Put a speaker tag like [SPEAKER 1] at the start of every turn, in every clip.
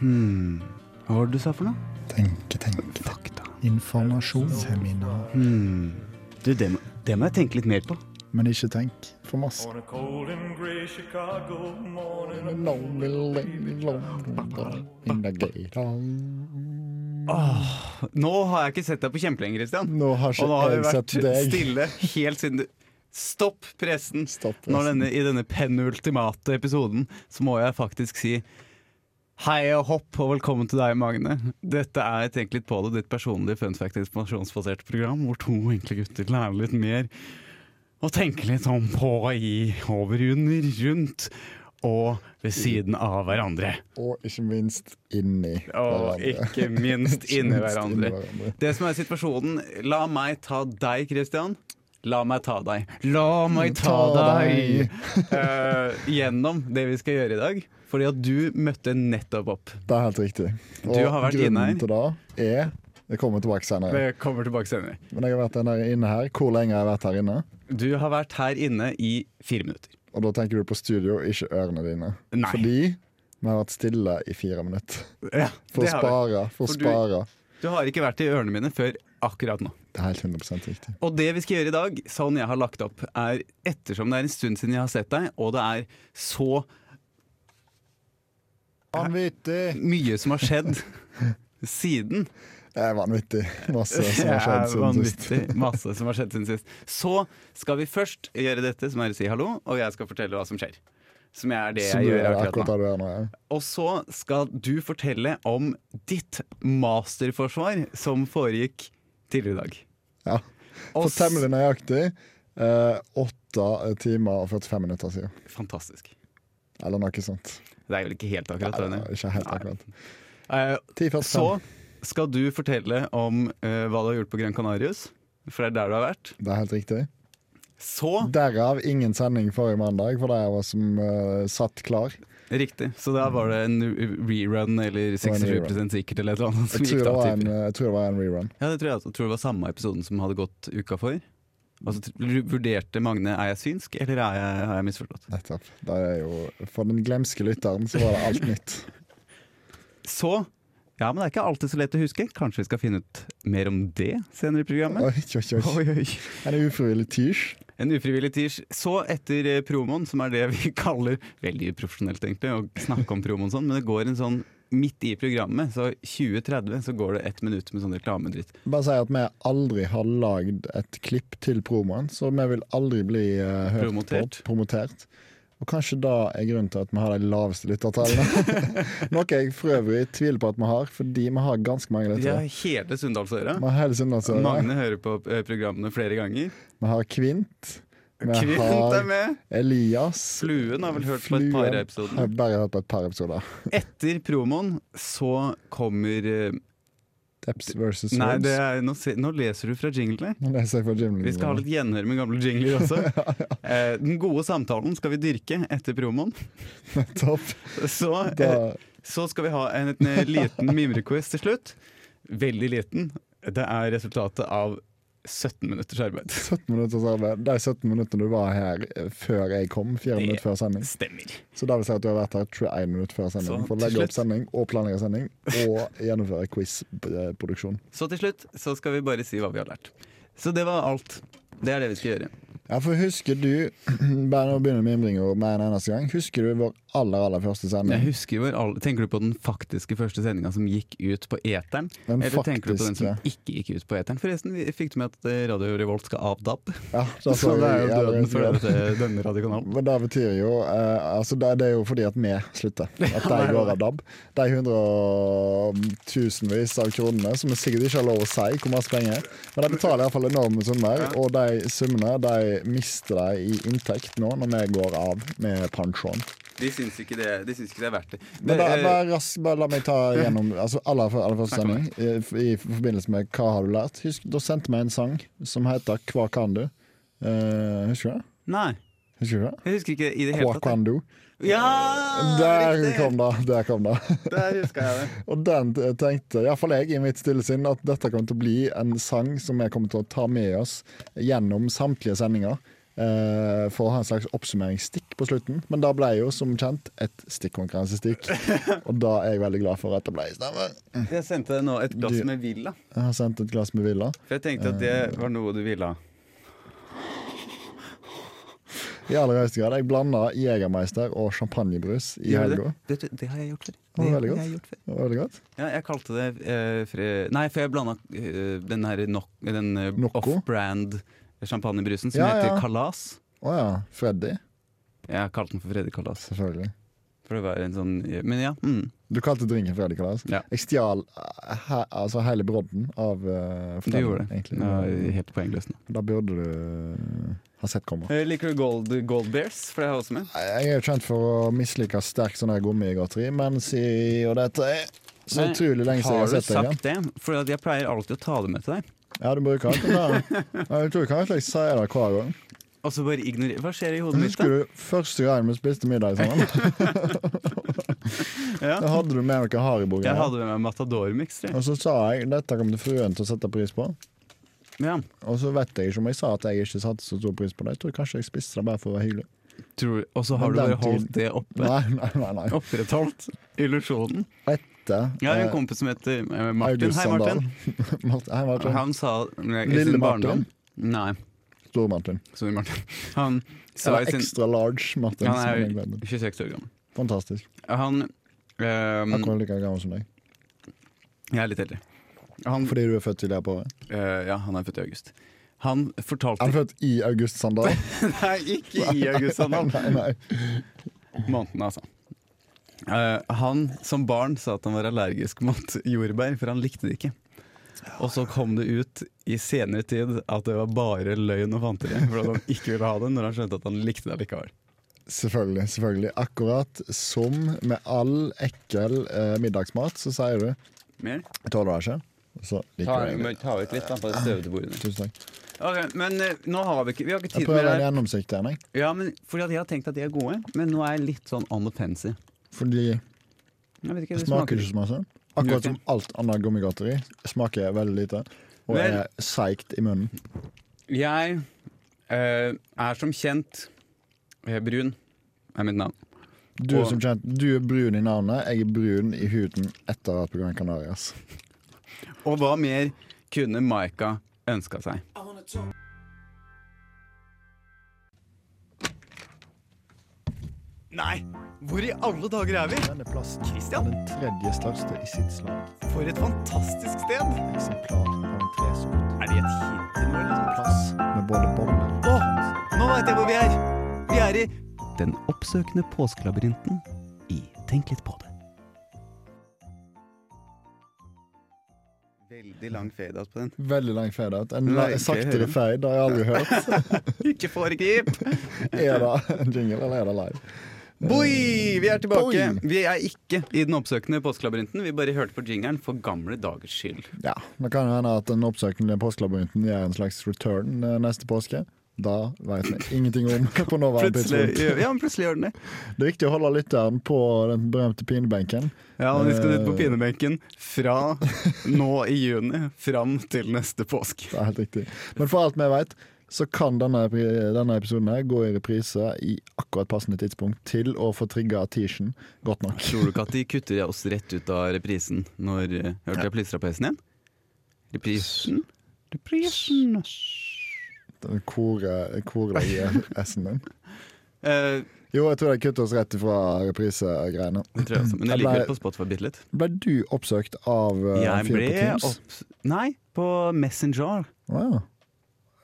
[SPEAKER 1] Hmm. Hva var det du sa for noe?
[SPEAKER 2] Tenke, tenke.
[SPEAKER 1] Fakta.
[SPEAKER 2] Informasjon. Seminar.
[SPEAKER 1] Hmm. Du, det, må- det må jeg tenke litt mer på.
[SPEAKER 2] Men ikke tenk for masse.
[SPEAKER 3] On a cold and gray Chicago morning,
[SPEAKER 1] Nå har jeg ikke sett deg på kjempelenge, Christian.
[SPEAKER 2] Nå har ikke
[SPEAKER 1] Og nå har vi
[SPEAKER 2] jeg
[SPEAKER 1] vært
[SPEAKER 2] sett deg.
[SPEAKER 1] stille helt siden du Stopp pressen!
[SPEAKER 2] Stopp pressen.
[SPEAKER 1] Når denne, I denne penultimate episoden så må jeg faktisk si Hei og hopp, og velkommen til deg, Magne. Dette er Tenk litt på det, ditt personlige fun fact informasjonsbaserte program, hvor to enkle gutter lærer litt mer og tenker litt om på, i, over, under, rundt og ved siden av hverandre.
[SPEAKER 2] Og ikke minst inni.
[SPEAKER 1] Og
[SPEAKER 2] hverandre.
[SPEAKER 1] ikke minst
[SPEAKER 2] Ikke
[SPEAKER 1] inni
[SPEAKER 2] minst
[SPEAKER 1] hverandre. Det som er situasjonen La meg ta deg, Christian. La meg ta deg. La meg Mm, ta,
[SPEAKER 2] Ta
[SPEAKER 1] deg!
[SPEAKER 2] deg.
[SPEAKER 1] Eh, gjennom det vi skal gjøre i dag. Fordi at du møtte nettopp opp.
[SPEAKER 2] Det er helt riktig.
[SPEAKER 1] Du har vært inne her.
[SPEAKER 2] grunnen til det er Jeg kommer tilbake senere.
[SPEAKER 1] Det kommer tilbake senere.
[SPEAKER 2] Men jeg har vært den der inne her. Hvor lenge har jeg vært her inne?
[SPEAKER 1] Du har vært her inne i fire minutter.
[SPEAKER 2] Og da tenker du på studio, ikke ørene dine.
[SPEAKER 1] Nei.
[SPEAKER 2] Fordi vi har vært stille i fire minutter.
[SPEAKER 1] Ja,
[SPEAKER 2] For å
[SPEAKER 1] det har vi.
[SPEAKER 2] spare. For å
[SPEAKER 1] For du-
[SPEAKER 2] spare.
[SPEAKER 1] Du har ikke vært i ørene mine før akkurat nå.
[SPEAKER 2] Det er helt 100 riktig.
[SPEAKER 1] Og det vi skal gjøre i dag, sånn jeg har lagt opp, er ettersom det er en stund siden jeg har sett deg, og det er så
[SPEAKER 2] Vanvittig!
[SPEAKER 1] mye som har skjedd siden
[SPEAKER 2] Det er vanvittig. Masse som
[SPEAKER 1] Det
[SPEAKER 2] har skjedd
[SPEAKER 1] er
[SPEAKER 2] siden sist.
[SPEAKER 1] vanvittig Masse som har skjedd siden sist. Så skal vi først gjøre dette, som er å si hallo, og jeg skal fortelle hva som skjer. Som er det
[SPEAKER 2] Som
[SPEAKER 1] jeg
[SPEAKER 2] du
[SPEAKER 1] gjør
[SPEAKER 2] gjør akkurat
[SPEAKER 1] akkurat nå.
[SPEAKER 2] det du gjør nå. ja.
[SPEAKER 1] Og så skal du fortelle om ditt masterforsvar som foregikk tidligere i dag.
[SPEAKER 2] Ja.
[SPEAKER 1] Og
[SPEAKER 2] For
[SPEAKER 1] s-
[SPEAKER 2] temmelig nøyaktig eh, åtte timer og 45 minutter siden.
[SPEAKER 1] Fantastisk.
[SPEAKER 2] Eller noe sånt.
[SPEAKER 1] Det er vel ikke helt akkurat,
[SPEAKER 2] Nei,
[SPEAKER 1] Tony.
[SPEAKER 2] det var ikke helt
[SPEAKER 1] Nei.
[SPEAKER 2] akkurat.
[SPEAKER 1] Eh,
[SPEAKER 2] 10.45.
[SPEAKER 1] Så skal du fortelle om eh, hva du har gjort på Gran Canarius, for det er der du har vært.
[SPEAKER 2] Det er helt riktig.
[SPEAKER 1] Så
[SPEAKER 2] Derav ingen sending forrige mandag, for det var som eh, satt klar.
[SPEAKER 1] Riktig. Så da var det en rerun eller 67 sikkert eller et eller annet som
[SPEAKER 2] Jeg tror
[SPEAKER 1] gikk
[SPEAKER 2] det
[SPEAKER 1] da
[SPEAKER 2] var en,
[SPEAKER 1] tidligere.
[SPEAKER 2] eh, jeg tror det var en rerun.
[SPEAKER 1] Ja, det tror jeg også. Jeg tror det var samme episoden som hadde gått uka for. Altså, tr- lu- vurderte Magne er jeg synsk, eller er jeg, har jeg misforstått?
[SPEAKER 2] Nettopp. Det er jo, for den glemske lytteren så var det alt nytt.
[SPEAKER 1] Så Ja, men det er ikke alltid så lett å huske. Kanskje vi skal finne ut mer om det senere i programmet?
[SPEAKER 2] Oi, oi, oi.
[SPEAKER 1] Oi, oi.
[SPEAKER 2] En ufrivillig tirsj.
[SPEAKER 1] En ufrivillig tirsj. Så etter eh, promoen, som er det vi kaller Veldig uprofesjonelt, egentlig, å snakke om promoen sånn, men det går en sånn midt i programmet, så 20.30 så går det ett minutt med sånn reklamedritt.
[SPEAKER 2] Bare si at vi aldri har lagd et klipp til promoen, så vi vil aldri bli eh, hørt
[SPEAKER 1] Promotert.
[SPEAKER 2] på. Promotert. Og kanskje da er grunnen til at vi har de laveste lyttertallene. Noe jeg for øvrig tviler på at vi har, fordi vi har ganske
[SPEAKER 1] De
[SPEAKER 2] mange
[SPEAKER 1] har
[SPEAKER 2] lyttere.
[SPEAKER 1] hele Sunndalsøra.
[SPEAKER 2] Vi har hele Sunnmørsøra.
[SPEAKER 1] Magne hører på eh, programmene flere ganger.
[SPEAKER 2] Vi har Kvint. Vi
[SPEAKER 1] Kvint er
[SPEAKER 2] har
[SPEAKER 1] med!
[SPEAKER 2] Elias.
[SPEAKER 1] Fluen har vel hørt på et par av
[SPEAKER 2] Fluen. Jeg
[SPEAKER 1] episodene.
[SPEAKER 2] har bare hørt på et par episoder.
[SPEAKER 1] Etter promoen så kommer eh,
[SPEAKER 2] Depps versus
[SPEAKER 1] Nei,
[SPEAKER 2] Worms.
[SPEAKER 1] det er, nå, se- nå leser du fra jinglene.
[SPEAKER 2] Nå leser jeg fra Jim
[SPEAKER 1] Vi skal ha
[SPEAKER 2] Lindgren.
[SPEAKER 1] litt gjenhør med gamle jingler også. Eh, Den gode samtalen skal vi dyrke etter promoen.
[SPEAKER 2] Topp.
[SPEAKER 1] Så,
[SPEAKER 2] Da,
[SPEAKER 1] eh, så skal vi ha en, en liten mimrequiz til slutt. Veldig liten. Det er resultatet av 17 minutters arbeid.
[SPEAKER 2] 17 minutters arbeid. De 17 minuttene du var her eh, før jeg kom, fire
[SPEAKER 1] Det-
[SPEAKER 2] minutter før sending.
[SPEAKER 1] Stemmer.
[SPEAKER 2] Så det vil si at du har vært her 21 minutter før sending
[SPEAKER 1] Så,
[SPEAKER 2] for å
[SPEAKER 1] til
[SPEAKER 2] legge opp
[SPEAKER 1] slutt.
[SPEAKER 2] sending og planlegge sending og gjennomføre quizproduksjon.
[SPEAKER 1] Så til slutt så skal vi bare si hva vi har lært. Så det var alt. Det er det vi skal gjøre.
[SPEAKER 2] Ja, for husker du Bare nå begynner mimringa med en eneste gang. Husker du vår aller aller første
[SPEAKER 1] Jeg
[SPEAKER 2] sending?
[SPEAKER 1] husker hvor alle, Tenker du på den faktiske første sendinga som gikk ut på eteren?
[SPEAKER 2] Den
[SPEAKER 1] Eller tenker du på den som
[SPEAKER 2] faktiske.
[SPEAKER 1] ikke gikk ut på eteren? Forresten, vi fikk du med at eh, Radio Revolt skal av DAB?
[SPEAKER 2] Ja, da
[SPEAKER 1] Så
[SPEAKER 2] så
[SPEAKER 1] det er
[SPEAKER 2] jeg
[SPEAKER 1] jo
[SPEAKER 2] allerede
[SPEAKER 1] døden
[SPEAKER 2] i
[SPEAKER 1] for
[SPEAKER 2] dag.
[SPEAKER 1] dette, denne radiokanalen.
[SPEAKER 2] Men det betyr jo eh, altså det, det er jo fordi at vi slutter. At de går av DAB. De hundretusenvis av kronene, som vi sikkert ikke har lov å si hvor masse penger Men de betaler iallfall enorme summer, og de summene de mister de i inntekt nå når vi går av med pensjon.
[SPEAKER 1] De syns ikke det, de syns ikke det er verdt det.
[SPEAKER 2] Men da,
[SPEAKER 1] eh,
[SPEAKER 2] bare, rask, bare la meg ta gjennom altså aller, aller første sending i, i forbindelse med Hva har du lært? Husk, da sendte vi en sang som heter Hva kan du? Eh, husker du det?
[SPEAKER 1] Nei,
[SPEAKER 2] Husker du det?
[SPEAKER 1] jeg husker ikke i det hele
[SPEAKER 2] Hva
[SPEAKER 1] tatt.
[SPEAKER 2] kan du?
[SPEAKER 1] Ja!
[SPEAKER 2] Der
[SPEAKER 1] riktig!
[SPEAKER 2] kom det! Der kom det.
[SPEAKER 1] Der huska jeg det.
[SPEAKER 2] Og den tenkte iallfall jeg i mitt stille sinn at dette kommer til å bli en sang som jeg kommer til å ta med oss gjennom samtlige sendinger. eh, eh, for å ha en slags oppsummeringsstikk på slutten. Men det ble jo som kjent et stikkonkurransestikk, og det er jeg veldig glad for at det ble i stedet.
[SPEAKER 1] Jeg sendte deg nå et glass
[SPEAKER 2] Du-
[SPEAKER 1] med Villa,
[SPEAKER 2] Jeg har sendt et glass med Villa.
[SPEAKER 1] for jeg tenkte at det var noe du ville ha.
[SPEAKER 2] I aller høyeste grad. Jeg blanda Jegermeister og champagnebrus i
[SPEAKER 1] Gjør du
[SPEAKER 2] helga.
[SPEAKER 1] Det? Det, det har jeg gjort før.
[SPEAKER 2] Det var veldig
[SPEAKER 1] har jeg
[SPEAKER 2] godt.
[SPEAKER 1] gjort før.
[SPEAKER 2] Det var veldig godt.
[SPEAKER 1] Ja, jeg kalte det eh, fre... Nei, for jeg blanda eh, den her nok, den eh,
[SPEAKER 2] Nocco?
[SPEAKER 1] off-brand champagnebrusen som
[SPEAKER 2] Ja,
[SPEAKER 1] heter
[SPEAKER 2] ja.
[SPEAKER 1] Kalas.
[SPEAKER 2] Å ja. Freddy.
[SPEAKER 1] Jeg kalte den for Freddy Kalas.
[SPEAKER 2] Selvfølgelig.
[SPEAKER 1] For det var en sånn Men ja. Mm.
[SPEAKER 2] Du kalte drinken Freddy Kalas.
[SPEAKER 1] Ja.
[SPEAKER 2] Jeg stjal eh, he, altså hele brodden av uh,
[SPEAKER 1] Du
[SPEAKER 2] Freddy.
[SPEAKER 1] gjorde det.
[SPEAKER 2] egentlig.
[SPEAKER 1] Ja, helt poengløst nå.
[SPEAKER 2] Da burde du eh, ha sett komme.
[SPEAKER 1] Eh, Liker du Gold, gold Bears? For det har jeg også med.
[SPEAKER 2] Jeg er jo kjent for å mislike sterkt sånn her gummigodteri, men si og dette er så
[SPEAKER 1] Nei,
[SPEAKER 2] utrolig lenge siden
[SPEAKER 1] Har
[SPEAKER 2] jeg har
[SPEAKER 1] du
[SPEAKER 2] sett deg igjen.
[SPEAKER 1] sagt det? For at jeg pleier alltid å ta det med til deg.
[SPEAKER 2] Ja, du bruker alltid det. Jeg tror kanskje jeg sier det hver gang.
[SPEAKER 1] Og så bare ignorer Hva skjer i hodet mitt, da?
[SPEAKER 2] Husker du første gangen vi spiste middag sammen?
[SPEAKER 1] Ja.
[SPEAKER 2] Da hadde du med noe
[SPEAKER 1] Jeg
[SPEAKER 2] Haribo-greier.
[SPEAKER 1] hadde med meg Matador-miks. jeg.
[SPEAKER 2] Og så sa jeg dette kommer til fruen til å sette pris på.
[SPEAKER 1] Ja.
[SPEAKER 2] Og så vet jeg ikke om jeg sa at jeg ikke satte så stor pris på det. Jeg tror kanskje jeg spiste det bare for å være hyggelig.
[SPEAKER 1] Tror- Og så har
[SPEAKER 2] Men
[SPEAKER 1] du bare
[SPEAKER 2] den tiden-
[SPEAKER 1] holdt det oppe.
[SPEAKER 2] Nei, nei, nei. nei.
[SPEAKER 1] Opprettholdt illusjonen.
[SPEAKER 2] Etter
[SPEAKER 1] Jeg har en
[SPEAKER 2] eh,
[SPEAKER 1] kompis som heter eh, Martin.
[SPEAKER 2] August
[SPEAKER 1] Hei,
[SPEAKER 2] Sandal.
[SPEAKER 1] Martin.
[SPEAKER 2] Martin. Hei, Martin.
[SPEAKER 1] Han sa i
[SPEAKER 2] Lille
[SPEAKER 1] sin
[SPEAKER 2] Martin?
[SPEAKER 1] barndom Nei,
[SPEAKER 2] Stor Martin.
[SPEAKER 1] sorry, Martin. Han sa i
[SPEAKER 2] Eller
[SPEAKER 1] sin
[SPEAKER 2] extra large Martin.
[SPEAKER 1] Han
[SPEAKER 2] som
[SPEAKER 1] er Mm.
[SPEAKER 2] jeg vet.
[SPEAKER 1] 26 år gammel.
[SPEAKER 2] Fantastisk.
[SPEAKER 1] Han ehm,
[SPEAKER 2] Akkurat like gammel som deg.
[SPEAKER 1] Jeg er litt eldre. Han,
[SPEAKER 2] Fordi du er født tidligere på året.
[SPEAKER 1] eh, ja, han er født i august. Han fortalte
[SPEAKER 2] Er du født i august, Sander?
[SPEAKER 1] Nei, ikke i august, han.
[SPEAKER 2] nei, nei.
[SPEAKER 1] Måneden, altså. Eh, han som barn sa at han var allergisk mot jordbær, for han likte det ikke. Og så kom det ut i senere tid at det var bare løgn og fanteri. For at han ikke ville ha det når han skjønte at han likte det likevel.
[SPEAKER 2] Selvfølgelig. selvfølgelig Akkurat som med all ekkel eh, middagsmat, så sier du
[SPEAKER 1] Mer?
[SPEAKER 2] Jeg tåler det ikke. Så liker du det.
[SPEAKER 1] ta ut litt, da, på det støvete bordet.
[SPEAKER 2] Tusen takk.
[SPEAKER 1] men eh, nå har vi ikke Vi har ikke
[SPEAKER 2] Jeg
[SPEAKER 1] tid mer
[SPEAKER 2] prøver å
[SPEAKER 1] her.
[SPEAKER 2] være gjennomsiktig her, jeg.
[SPEAKER 1] Ja, men fordi at jeg har tenkt at de er gode, men nå er jeg litt sånn on the fancy.
[SPEAKER 2] Fordi det
[SPEAKER 1] Jeg vet ikke, det smaker
[SPEAKER 2] smaker ikke så masse. Akkurat som alt annet gummigodteri smaker veldig lite. Og
[SPEAKER 1] Vel-
[SPEAKER 2] er seigt i munnen.
[SPEAKER 1] Jeg eh, er som kjent eh, brun, er mitt navn.
[SPEAKER 2] Du,
[SPEAKER 1] Og-
[SPEAKER 2] som kjent, du er brun i navnet, jeg er brun i huden etter å ha vært på Gran Canarias.
[SPEAKER 1] Og hva mer kunne Maika ønska seg? Nei, hvor i alle dager er vi?
[SPEAKER 2] Denne plassen
[SPEAKER 1] Christian?
[SPEAKER 2] er den tredje største i sitt slag.
[SPEAKER 1] For et fantastisk sted!
[SPEAKER 2] Eksemplar av en tresomt
[SPEAKER 1] Er det et hint til noe? eller?
[SPEAKER 2] plass med både boller
[SPEAKER 1] Å, nå veit jeg hvor vi er! Vi er i Den oppsøkende påskelabyrinten i Tenk litt på det. Veldig lang fade-out på den.
[SPEAKER 2] Veldig lang fade-out. En
[SPEAKER 1] Nei,
[SPEAKER 2] la-
[SPEAKER 1] ikke
[SPEAKER 2] saktere
[SPEAKER 1] høyere.
[SPEAKER 2] fade har jeg aldri hørt.
[SPEAKER 1] Ikke foregrip!
[SPEAKER 2] Er det en jingle, eller er det live?
[SPEAKER 1] Boi! Vi er tilbake.
[SPEAKER 2] Boi!
[SPEAKER 1] Vi er ikke i den oppsøkende påskelabyrinten. Vi bare hørte på jingeren for gamle dagers skyld.
[SPEAKER 2] Ja, Det kan jo hende at den oppsøkende påskelabyrinten gjør en slags return eh, neste påske. Da veit vi ingenting om på nåværende
[SPEAKER 1] Plutselig,
[SPEAKER 2] tidspunkt.
[SPEAKER 1] ja, men plutselig gjør den det.
[SPEAKER 2] Det er viktig å holde lytteren på den berømte pinebenken.
[SPEAKER 1] Ja, og Vi skal ut på
[SPEAKER 2] Eh.
[SPEAKER 1] pinebenken fra nå i juni fram til neste påske.
[SPEAKER 2] Det er helt riktig. Men for alt vi veit, så kan denne, pri- denne episoden her gå i reprise i akkurat passende tidspunkt til å få trigga teachen godt nok.
[SPEAKER 1] Tror du ikke at de kutter oss rett ut av reprisen når eh, Hørte jeg plystra på hesten igjen? Reprisen? Reprisen
[SPEAKER 2] Kore- Koredag i S-en din.
[SPEAKER 1] Eh,
[SPEAKER 2] Jo, jeg tror de kutter oss rett ifra reprisegreiene.
[SPEAKER 1] det tror jeg også, men jeg liker det på Spotify bitte litt.
[SPEAKER 2] Ble du oppsøkt av eh, en
[SPEAKER 1] Jeg
[SPEAKER 2] fyr på
[SPEAKER 1] ble
[SPEAKER 2] Teams?
[SPEAKER 1] opp... Nei, på Messenger.
[SPEAKER 2] Å, ja.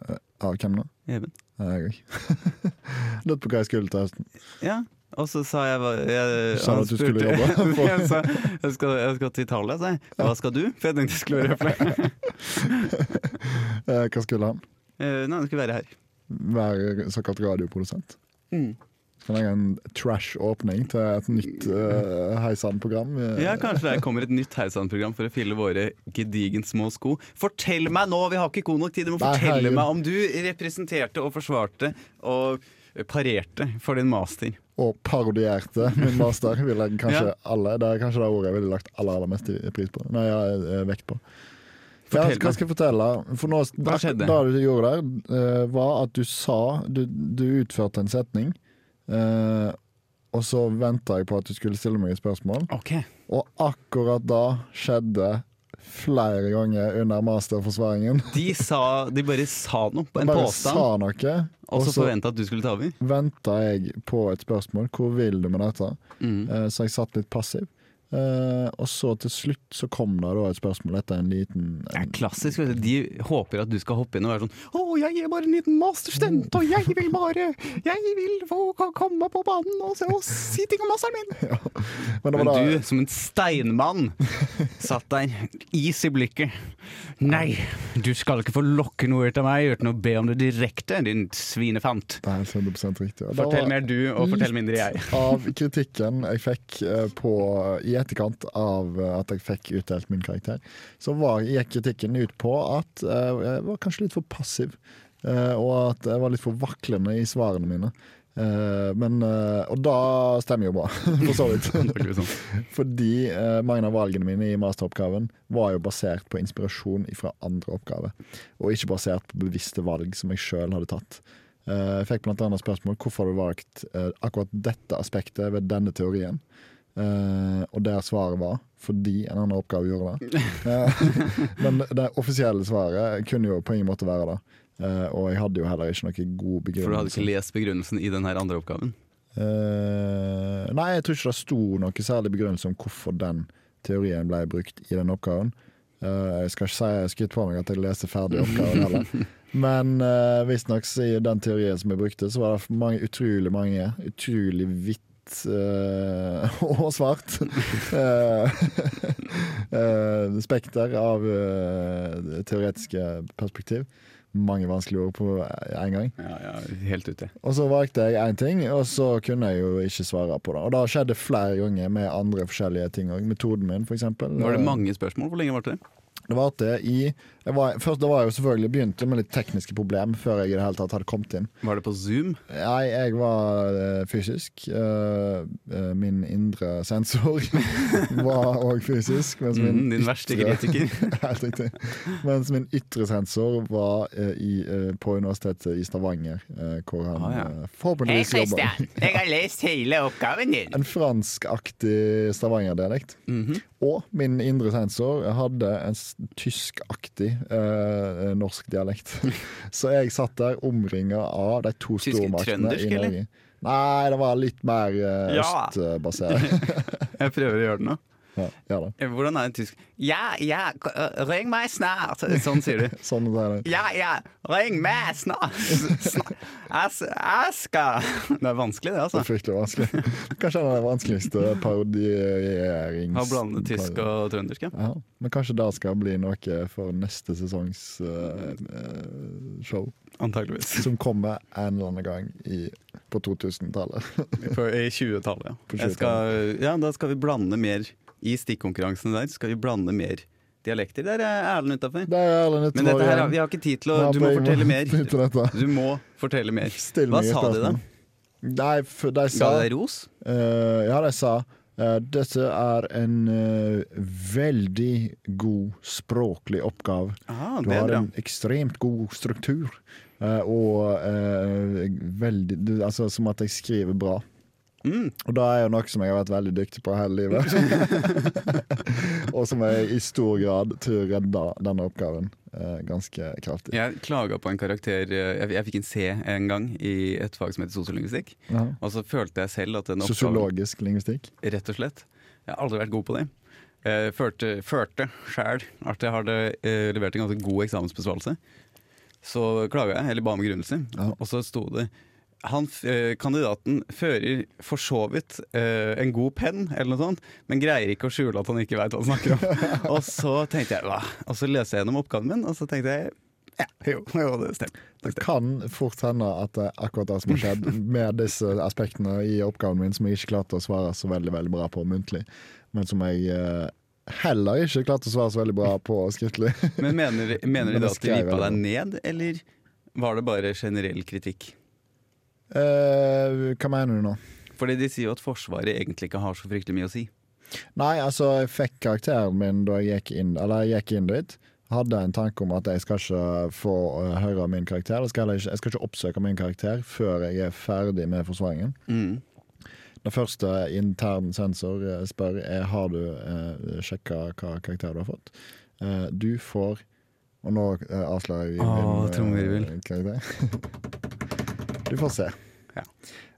[SPEAKER 2] Eh, Av hvem da?
[SPEAKER 1] Even.
[SPEAKER 2] Ja, Jeg òg. Lurte på hva jeg skulle eh, til høsten.
[SPEAKER 1] Ja, og så sa jeg, hva- jeg
[SPEAKER 2] Sa du
[SPEAKER 1] han
[SPEAKER 2] at du skulle
[SPEAKER 1] spurte-
[SPEAKER 2] jobbe?
[SPEAKER 1] jeg, sa, jeg, skal, jeg skal til Italia, sa jeg. Hva skal du? For jeg tenkte jeg skulle være her.
[SPEAKER 2] Eh, Hva skulle han?
[SPEAKER 1] Eh, Nei, jeg skulle være her.
[SPEAKER 2] Være såkalt radioprodusent? Skal lage en trash åpning til et nytt uh, heisann-program? eh,
[SPEAKER 1] Ja, Kanskje det kommer et nytt Heisan-program for å fylle våre gedigent små sko. Fortell meg nå! Vi har ikke god nok tid. Du må
[SPEAKER 2] Nei,
[SPEAKER 1] fortelle
[SPEAKER 2] herregud.
[SPEAKER 1] meg om du representerte og forsvarte og parerte for din master.
[SPEAKER 2] Og parodierte min master, vil jeg kanskje
[SPEAKER 1] Ja.
[SPEAKER 2] alle. Det er kanskje det ordet jeg ville lagt aller, aller mest i- pris på. Nei, jeg, eh, vekt på. Ja,
[SPEAKER 1] Fortell
[SPEAKER 2] hva skal jeg fortelle? For nå,
[SPEAKER 1] Hva skjedde?
[SPEAKER 2] Det du gjorde der, eh, var at du sa Du, du utførte en setning, eh, og så venta jeg på at du skulle stille meg et spørsmål.
[SPEAKER 1] meg. Ok.
[SPEAKER 2] Og akkurat da skjedde flere ganger under masterforsvaringen.
[SPEAKER 1] De, sa, de bare sa noe, en
[SPEAKER 2] Bare
[SPEAKER 1] påstand,
[SPEAKER 2] sa noe,
[SPEAKER 1] og så
[SPEAKER 2] så
[SPEAKER 1] forventa at du skulle ta over.
[SPEAKER 2] venta jeg på et spørsmål. Hvor vil du med dette?
[SPEAKER 1] Mm.
[SPEAKER 2] Eh, Så jeg satt litt passiv. Eh, og så til slutt så kom det da et spørsmål etter en liten
[SPEAKER 1] Det er klassisk. Vet du. De håper at du skal hoppe inn og være sånn 'Å, jeg er bare en liten masterstudent, og jeg vil bare Jeg vil få ko- komme på banen og, se- og si ting om masteren min'.
[SPEAKER 2] eh, Men det var
[SPEAKER 1] Men
[SPEAKER 2] da-
[SPEAKER 1] du, som en steinmann, satt der, is i blikket. 'Nei, du skal ikke få lokke noe ut av meg uten å be om det direkte, din svinefant'.
[SPEAKER 2] Det er helt 100 riktig. Og det
[SPEAKER 1] Fortell
[SPEAKER 2] var
[SPEAKER 1] mer du, og fortell mindre jeg.
[SPEAKER 2] litt av kritikken jeg fikk eh, på, i etterkant av eh, at jeg fikk utdelt min karakter, så var, gikk kritikken ut på at eh, jeg var kanskje litt for passiv. eh, og at jeg var litt for vaklende i svarene mine. Eh, men, eh, og da stemmer jo bra, for så vidt.
[SPEAKER 1] Det var ikke sånn.
[SPEAKER 2] Fordi eh, mange av valgene mine i masteroppgaven var jo basert på inspirasjon fra andre oppgaver, og ikke basert på bevisste valg som jeg sjøl hadde tatt. Eh, jeg fikk bl.a. spørsmål hvorfor har du valgt eh, akkurat dette aspektet ved denne teorien. Eh, og der svaret var fordi en annen oppgave gjorde det. Eh, men det offisielle svaret kunne jo på ingen måte være det. Eh, og jeg hadde jo heller ikke noen god begrunnelse.
[SPEAKER 1] For du hadde ikke lest begrunnelsen i den her andre oppgaven.
[SPEAKER 2] Eh, nei, jeg tror ikke det sto noe særlig begrunnelse om hvorfor den teorien ble brukt i den oppgaven. Eh, jeg skal ikke si jeg skryter på meg at jeg leste ferdig oppgaven heller. Men uh, visstnok så i den teorien som jeg brukte, så var det mange, utrolig mange utrolig hvitt eh, og svart eh, eh, spekter av eh, teoretiske perspektiv. Mange vanskelige ord på én gang.
[SPEAKER 1] Ja, ja, helt ute.
[SPEAKER 2] Og så valgte jeg én ting, og så kunne jeg jo ikke svare på det. Og da skjedde det flere ganger med andre forskjellige ting òg. Metoden min, f.eks.
[SPEAKER 1] Var det mange spørsmål? Hvor lenge varte det?
[SPEAKER 2] Det var at det i jeg var, Først da var jeg jo selvfølgelig begynt med litt tekniske problem før jeg i det hele tatt hadde kommet inn.
[SPEAKER 1] Var det på Zoom?
[SPEAKER 2] Nei, jeg var eh, fysisk. Eh, eh, min indre sensor var òg fysisk. Mens min
[SPEAKER 1] Mm, din verste
[SPEAKER 2] ytre-
[SPEAKER 1] kritiker.
[SPEAKER 2] Helt riktig. Mens min ytre sensor var eh, i, eh, på Universitetet i Stavanger, eh, hvor han
[SPEAKER 1] Ah, ja.
[SPEAKER 2] eh, forhåpentligvis jobber.
[SPEAKER 1] jeg har lest hele oppgaven din.
[SPEAKER 2] En franskaktig stavangerdialekt.
[SPEAKER 1] Mhm.
[SPEAKER 2] Og min indre sensor hadde en s- tyskaktig eh, norsk dialekt. Så jeg satt der omringa av de to
[SPEAKER 1] Tysk-
[SPEAKER 2] stormaktene i
[SPEAKER 1] trøndersk,
[SPEAKER 2] Norge.
[SPEAKER 1] eller?
[SPEAKER 2] Nei, det var litt mer eh,
[SPEAKER 1] Ja.
[SPEAKER 2] østbasert.
[SPEAKER 1] Jeg prøver å gjøre det nå.
[SPEAKER 2] Ja, ja da.
[SPEAKER 1] Eh, Hvordan er det i tysk? Ja, ja, k- øh, ring meg snart! Sånn sier du.
[SPEAKER 2] Sånn er det.
[SPEAKER 1] Ja, ja, ring meg snart! Sna- As Aska! Det er vanskelig, det,
[SPEAKER 2] Det er
[SPEAKER 1] altså.
[SPEAKER 2] fryktelig vanskelig. Kanskje den vanskeligste parodierings...
[SPEAKER 1] Å blande tysk og trøndersk, ja.
[SPEAKER 2] ja, Men kanskje det skal bli noe for neste sesongs eh, eh, show.
[SPEAKER 1] Antakeligvis.
[SPEAKER 2] som kommer en eller annen gang i, på 2000-tallet.
[SPEAKER 1] I 20-tallet,
[SPEAKER 2] På
[SPEAKER 1] ja. Jeg skal, ja. Da skal vi blande mer i stikkonkurransene der. Skal vi blande mer dialekter? Der er Erlend utafor.
[SPEAKER 2] Der er Erlend
[SPEAKER 1] Men dette her, har- vi har ikke tid til å Du må fortelle mer. Du må fortelle mer.
[SPEAKER 2] Still
[SPEAKER 1] Hva
[SPEAKER 2] meg et
[SPEAKER 1] sa de da?
[SPEAKER 2] spørsmål. Nei, for de sa
[SPEAKER 1] Ga de deg ros?
[SPEAKER 2] eh, Ja, de sa eh, dette er en eh, veldig god språklig oppgave.
[SPEAKER 1] Ah,
[SPEAKER 2] Du
[SPEAKER 1] det er
[SPEAKER 2] har
[SPEAKER 1] bra.
[SPEAKER 2] en ekstremt god struktur, eh, og eh, veldig du, Altså som at jeg skriver bra.
[SPEAKER 1] Mm.
[SPEAKER 2] Og det er jo noe som jeg har vært veldig dyktig på hele livet. og som jeg i stor grad tror redda denne oppgaven eh, ganske kraftig.
[SPEAKER 1] Jeg klaga på en karakter eh, Jeg, jeg fikk en C en gang i et fag som heter sosiolingvistikk.
[SPEAKER 2] Ja.
[SPEAKER 1] Og så følte jeg selv at den oppgaven
[SPEAKER 2] Sosiologisk lingvistikk.
[SPEAKER 1] Rett og slett. Jeg har aldri vært god på det. Eh, Jeg følte, følte sjæl at jeg hadde eh, levert en ganske god eksamensbesvarelse. Så klaga jeg, eller ba om begrunnelse,
[SPEAKER 2] Ja.
[SPEAKER 1] og så sto det han, f- eh, kandidaten fører for så vidt eh, en god penn, eller noe sånt, men greier ikke å skjule at han ikke veit hva han snakker om. og så tenkte jeg, hva? Og så leser jeg gjennom oppgaven min, og så tenkte jeg ja, jo, jo det stemmer.
[SPEAKER 2] Det kan fort hende at det er akkurat det som har skjedd med disse aspektene i oppgaven min, som jeg ikke klarte å svare så veldig veldig bra på muntlig, men som jeg eh, heller ikke klarte å svare så veldig bra på skriftlig.
[SPEAKER 1] Men mener, mener
[SPEAKER 2] Men
[SPEAKER 1] de da
[SPEAKER 2] det
[SPEAKER 1] at de
[SPEAKER 2] skrev jeg
[SPEAKER 1] vipa
[SPEAKER 2] da.
[SPEAKER 1] deg ned, eller var det bare generell kritikk?
[SPEAKER 2] Eh, hva mener du nå?
[SPEAKER 1] Fordi de sier jo at Forsvaret egentlig ikke har så fryktelig mye å si.
[SPEAKER 2] Nei, altså, jeg fikk karakteren min da jeg gikk inn, eller jeg gikk inn dit. hadde en tanke om at jeg skal ikke få eh, høre om min karakter. Jeg skal, heller ikke, jeg skal ikke oppsøke min karakter før jeg er ferdig med forsvaringen.
[SPEAKER 1] Mm.
[SPEAKER 2] Den første intern sensor eh, spør er har du eh, sjekka hva karakter du har fått. Eh, du får Og nå eh, avslører jeg
[SPEAKER 1] Åh,
[SPEAKER 2] eh,
[SPEAKER 1] trommevirvel.
[SPEAKER 2] karakter. Du får se.
[SPEAKER 1] Ja.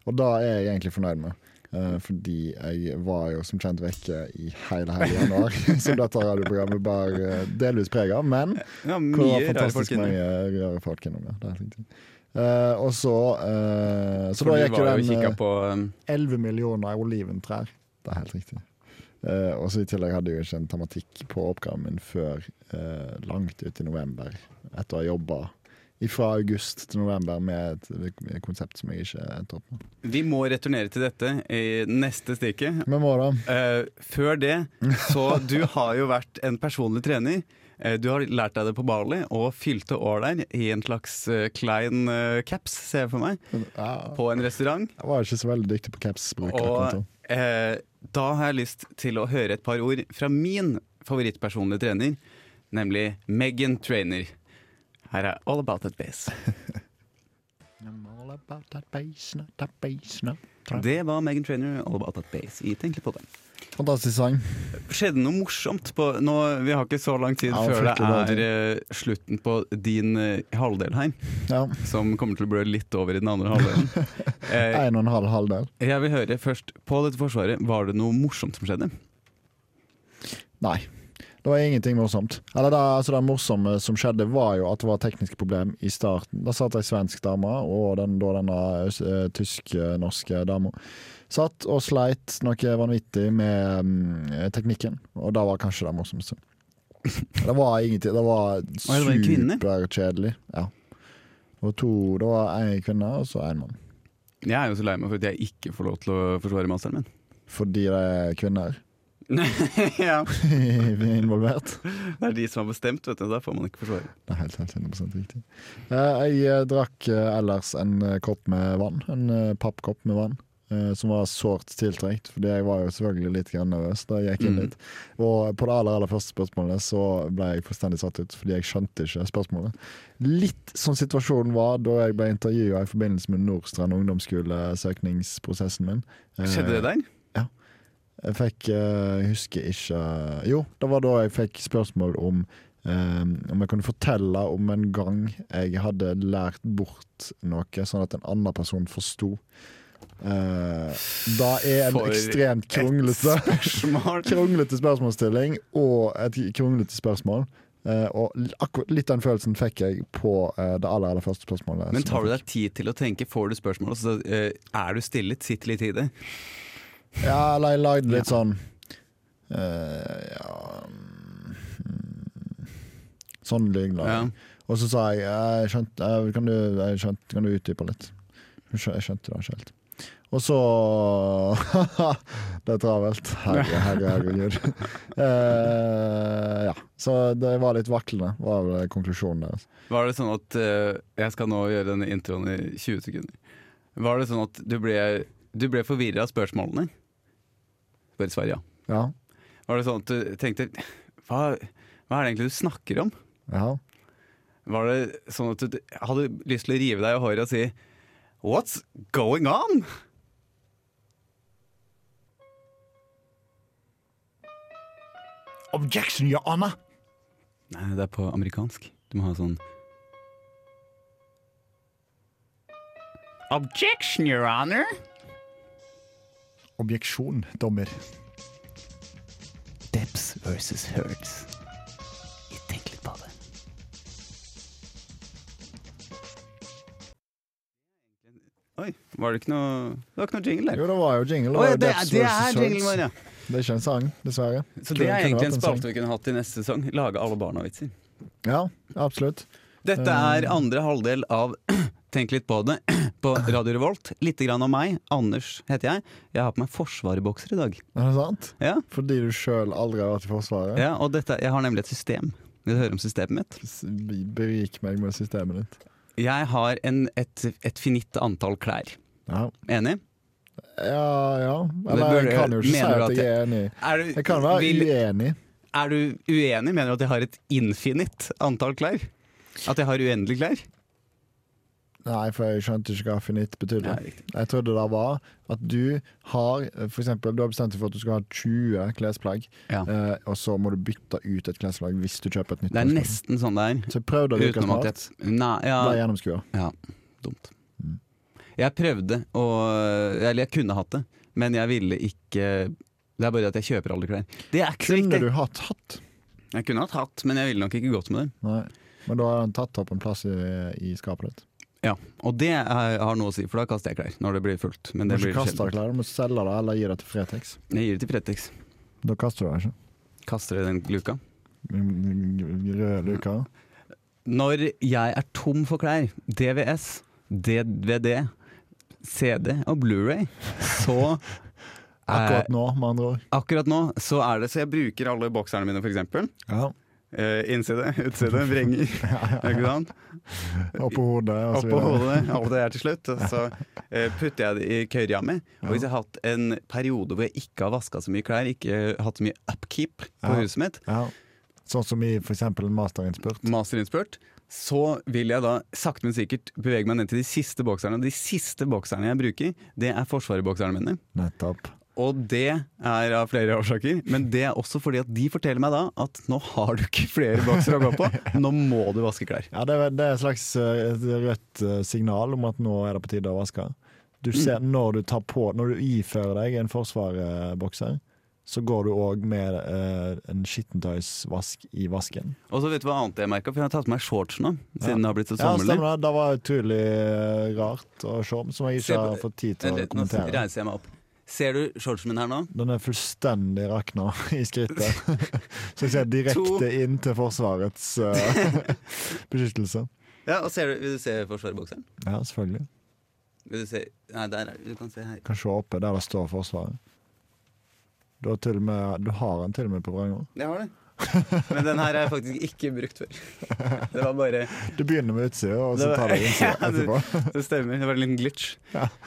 [SPEAKER 2] Og da er jeg egentlig fornøyd med. eh, fordi jeg var jo som kjent vekke i hele hele januar, som dette radioprogrammet bar eh, delvis preg av. Men
[SPEAKER 1] Ja,
[SPEAKER 2] hvor det
[SPEAKER 1] mye rare
[SPEAKER 2] var
[SPEAKER 1] folk
[SPEAKER 2] fantastisk
[SPEAKER 1] inni.
[SPEAKER 2] mange rare folk innom. Ja. Det er helt riktig. Eh, og så eh, Så
[SPEAKER 1] For
[SPEAKER 2] da
[SPEAKER 1] du
[SPEAKER 2] gikk jo
[SPEAKER 1] var
[SPEAKER 2] den
[SPEAKER 1] jo
[SPEAKER 2] eh,
[SPEAKER 1] kikka på um,
[SPEAKER 2] 11 millioner oliventrær. Det er helt riktig. Eh, og så I tillegg hadde jeg jo ikke en tematikk på oppgaven min før eh, langt ut i november. Etter å ha jobba fra august til november med et, et konsept som jeg ikke endte opp med.
[SPEAKER 1] Vi må returnere til dette i neste stikke.
[SPEAKER 2] Men hva da?
[SPEAKER 1] Eh, før det, så du har jo vært en personlig trener. Eh, Du har lært deg det på Bali og fylte år der i en slags eh, klein eh, caps, ser jeg for meg,
[SPEAKER 2] Ja,
[SPEAKER 1] på en restaurant.
[SPEAKER 2] jeg var ikke så veldig dyktig på capsbruk. akkurat
[SPEAKER 1] Og
[SPEAKER 2] da.
[SPEAKER 1] eh, da har jeg lyst til å høre et par ord fra min favorittpersonlige trener, nemlig Megan Trainer. Her er All About That Base.
[SPEAKER 2] eh, I'm all about that bass, not that bass, not that-
[SPEAKER 1] Det var Megan Trainer, All About That Base. Vi tenker på den.
[SPEAKER 2] Fantastisk sang.
[SPEAKER 1] skjedde noe morsomt på nå, Vi har ikke så lang tid
[SPEAKER 2] Ja,
[SPEAKER 1] før det
[SPEAKER 2] fryktelig bra
[SPEAKER 1] er eh, slutten på din eh, halvdel her,
[SPEAKER 2] Ja.
[SPEAKER 1] som kommer til å blø litt over i den andre halvdelen. Eh,
[SPEAKER 2] En og en halv halvdel.
[SPEAKER 1] jeg vil høre først, på dette forsvaret, var det noe morsomt som skjedde?
[SPEAKER 2] Nei. Det var ingenting morsomt. Eller det, altså det morsomme som skjedde, var jo at det var tekniske problem i starten. Da satt ei svensk dame, og den, da denne eh, tysk-norske dama, satt og sleit noe vanvittig med mm, teknikken. Og det var kanskje det morsomste. Det var ingenting. Det var
[SPEAKER 1] det var en kvinne?
[SPEAKER 2] superkjedelig. Ja. Det var to Det var én kvinne, og så én mann.
[SPEAKER 1] Jeg er jo så lei meg for at jeg ikke får lov til å forsvare masteren min.
[SPEAKER 2] Fordi det er kvinner
[SPEAKER 1] ja.
[SPEAKER 2] involvert.
[SPEAKER 1] Det er de som har bestemt, vet du. Da får man ikke forsvare.
[SPEAKER 2] Det er helt, helt 100 riktig. Eh, jeg eh, drakk eh, ellers en eh, kopp med vann, en eh, pappkopp med vann, eh, som var sårt tiltrengt, fordi jeg var jo selvfølgelig litt grann nervøs da jeg gikk inn
[SPEAKER 1] Mhm.
[SPEAKER 2] dit. Og på det aller, aller første spørsmålet så ble jeg fullstendig satt ut, fordi jeg skjønte ikke spørsmålet. Litt som situasjonen var da jeg ble intervjua i forbindelse med Nordstrand ungdomsskolesøkningsprosessen min. Eh,
[SPEAKER 1] Skjedde det der?
[SPEAKER 2] jeg fikk eh, Jeg husker ikke Jo, det var da jeg fikk spørsmål om eh, om jeg kunne fortelle om en gang jeg hadde lært bort noe, sånn at en annen person forsto. Eh, da er en
[SPEAKER 1] For
[SPEAKER 2] ekstremt kronglete
[SPEAKER 1] Spørsmål?
[SPEAKER 2] Kronglete spørsmålsstilling og et kronglete spørsmål. Eh, og l- akkurat litt den følelsen fikk jeg på eh, det aller, aller første spørsmålet.
[SPEAKER 1] Men
[SPEAKER 2] som
[SPEAKER 1] tar du
[SPEAKER 2] jeg
[SPEAKER 1] deg tid til å tenke? Får du spørsmål, så eh, er du stillet? Sitt litt i det.
[SPEAKER 2] Ja, eller jeg lagde litt sånn eh, Ja mm, Sånn lyg la jeg. Og så sa jeg eh, jeg skjønte, eh, kan, du, jeg skjønte, kan du utdype litt? Jeg skjø- jeg skjønte det ikke helt. Og så Det er travelt. Herre, herre, herregud. Eh, ja. Så det var litt vaklende, var vel konklusjonen deres.
[SPEAKER 1] Var det sånn at eh, Jeg skal nå gjøre denne introen i 20 sekunder. Var det sånn at du ble, du ble forvirra av spørsmålene? Bare svar ja.
[SPEAKER 2] Ja.
[SPEAKER 1] Var det sånn at du tenkte hva, hva er det egentlig du snakker om?
[SPEAKER 2] ja.
[SPEAKER 1] Var det sånn at du hadde lyst til å rive deg i håret og si What's going on?
[SPEAKER 2] Objection, your honor!
[SPEAKER 1] Nei, det er på amerikansk. Du må ha sånn Objection, your honor.
[SPEAKER 2] Objeksjon, dommer.
[SPEAKER 1] Depps versus Hertz. Tenk litt på det. Oi, var det ikke noe Det var ikke noe jingle der.
[SPEAKER 2] Jo, det var jo jingle.
[SPEAKER 1] Oi,
[SPEAKER 2] var jo
[SPEAKER 1] det,
[SPEAKER 2] Deaths
[SPEAKER 1] det
[SPEAKER 2] versus
[SPEAKER 1] er jinglen
[SPEAKER 2] Swords.
[SPEAKER 1] vår, ja.
[SPEAKER 2] Det er ikke en sang,
[SPEAKER 1] Så
[SPEAKER 2] dessverre. Kunne-
[SPEAKER 1] det er
[SPEAKER 2] kunne
[SPEAKER 1] egentlig
[SPEAKER 2] vært sånn.
[SPEAKER 1] en
[SPEAKER 2] sang.
[SPEAKER 1] spalte vi kunne hatt i neste sesong. Lage alle barna-vitser.
[SPEAKER 2] Ja, absolutt.
[SPEAKER 1] Dette er andre halvdel av Tenk litt på det på Radio Revolt. Litt grann om meg. Anders heter jeg. Jeg har på meg forsvarebokser i dag.
[SPEAKER 2] Er det sant?
[SPEAKER 1] Ja,
[SPEAKER 2] Fordi du sjøl aldri har vært i Forsvaret?
[SPEAKER 1] ja og dette, Jeg har nemlig et system. Vil du høre om systemet mitt?
[SPEAKER 2] S- Berik meg med systemet ditt.
[SPEAKER 1] Jeg har en, et, et finitt antall klær.
[SPEAKER 2] Ja,
[SPEAKER 1] Enig?
[SPEAKER 2] ja. ja.
[SPEAKER 1] burde
[SPEAKER 2] Eller jeg kan jo
[SPEAKER 1] jeg-
[SPEAKER 2] ikke si
[SPEAKER 1] mener du
[SPEAKER 2] at
[SPEAKER 1] at
[SPEAKER 2] jeg er enig.
[SPEAKER 1] Er du,
[SPEAKER 2] Jeg kan være
[SPEAKER 1] vil,
[SPEAKER 2] uenig.
[SPEAKER 1] Er du uenig? Mener du at jeg har et infinitt antall klær? At jeg har uendelig klær?
[SPEAKER 2] Nei, for jeg skjønte ikke hva finitt betydde.
[SPEAKER 1] Nei, riktig.
[SPEAKER 2] jeg trodde det var at du har for eksempel, Du har bestemt deg for at du skal ha 20 klesplagg,
[SPEAKER 1] Ja.
[SPEAKER 2] eh, og så må du bytte ut et klesplagg hvis du kjøper et nytt.
[SPEAKER 1] Det er
[SPEAKER 2] klesplagg.
[SPEAKER 1] nesten sånn det er.
[SPEAKER 2] Så jeg prøvde å virke
[SPEAKER 1] Utenom at
[SPEAKER 2] smart.
[SPEAKER 1] jeg Nei,
[SPEAKER 2] Ble
[SPEAKER 1] ja,
[SPEAKER 2] gjennomskua.
[SPEAKER 1] ja. Dumt. Jeg prøvde å Eller jeg kunne hatt det, men jeg ville ikke Det er bare at jeg kjøper aldri klær. Det er ikke så
[SPEAKER 2] Kunne du
[SPEAKER 1] viktig.
[SPEAKER 2] hatt hatt?
[SPEAKER 1] Jeg kunne hatt hatt, men jeg ville nok ikke gått med det.
[SPEAKER 2] Nei. Men da har den tatt opp en plass i, i skapet ditt.
[SPEAKER 1] Ja, Og det er- har noe å si, for da kaster jeg klær når det blir fullt. Men
[SPEAKER 2] Du
[SPEAKER 1] det
[SPEAKER 2] må
[SPEAKER 1] blir
[SPEAKER 2] ikke kaste
[SPEAKER 1] sjelden.
[SPEAKER 2] deg klær, du må selge det eller gi det til Fretex.
[SPEAKER 1] Jeg gir det til Pretex.
[SPEAKER 2] Da kaster du deg ikke.
[SPEAKER 1] Kaster det i den luka.
[SPEAKER 2] Røde luker.
[SPEAKER 1] Når jeg er tom for klær, DVS, DVD, CD og Blu-ray, så eh,
[SPEAKER 2] Akkurat nå, med andre ord.
[SPEAKER 1] akkurat nå så er det så jeg bruker alle bokserne mine, for eksempel.
[SPEAKER 2] Ja.
[SPEAKER 1] Eh, innside, utside, vrenger. Ikke sant?
[SPEAKER 2] Oppå hodet og så
[SPEAKER 1] Oppå
[SPEAKER 2] videre.
[SPEAKER 1] hodet, alt det der til slutt. og Så eh, putter jeg det i kørja mi. Og hvis jeg har hatt en periode hvor jeg ikke har vaska så mye klær, ikke hatt så mye upkeep på
[SPEAKER 2] Ja.
[SPEAKER 1] huset mitt,
[SPEAKER 2] Ja. Sånn som i for eksempel en masterinnspurt.
[SPEAKER 1] masterinnspurt, så vil jeg da sakte, men sikkert bevege meg ned til de siste bokserne. Og de siste bokserne jeg bruker, det er Forsvaret-bokserne mine.
[SPEAKER 2] Nettopp.
[SPEAKER 1] Og det er av flere årsaker, men det er også fordi at de forteller meg da at nå har du ikke flere boksere å gå på, nå må du vaske klær.
[SPEAKER 2] Ja, det er, det er et slags eh, et rødt eh, signal om at nå er det på tide å vaske. Du
[SPEAKER 1] Mm.
[SPEAKER 2] ser når du tar på Når du ifører deg en forsvarsbokser, så går du òg med eh, en skittentøysvask i vasken.
[SPEAKER 1] Og så vet du hva annet jeg merka, for jeg har tatt på meg shorts nå, siden det har blitt så
[SPEAKER 2] Ja,
[SPEAKER 1] sommerlig.
[SPEAKER 2] stemmer det. Det var utrolig eh, rart å se, som jeg
[SPEAKER 1] Se
[SPEAKER 2] ikke
[SPEAKER 1] på-
[SPEAKER 2] har fått tid
[SPEAKER 1] Vent
[SPEAKER 2] til å
[SPEAKER 1] litt, Nå
[SPEAKER 2] kommentere.
[SPEAKER 1] reiser jeg meg opp. Ser du shortsen min her nå?
[SPEAKER 2] Den er fullstendig rakna i skrittet. Så jeg
[SPEAKER 1] To.
[SPEAKER 2] ser direkte inn til Forsvarets eh, beskyttelse.
[SPEAKER 1] Ja, og ser du, Vil du se forsvarerbokseren?
[SPEAKER 2] Ja, selvfølgelig.
[SPEAKER 1] Vil du se Nei, der er Du kan se her.
[SPEAKER 2] Kanskje oppe der det står Forsvaret. Du har, til og med, du har den til og med på Vrangå.
[SPEAKER 1] Jeg har det. Men den her har jeg faktisk ikke brukt før. Det var bare
[SPEAKER 2] Du begynner med utsida, og
[SPEAKER 1] Det
[SPEAKER 2] så
[SPEAKER 1] var-
[SPEAKER 2] tar du innsida
[SPEAKER 1] Ja, du-
[SPEAKER 2] etterpå.
[SPEAKER 1] Det stemmer. Det var en liten glitch.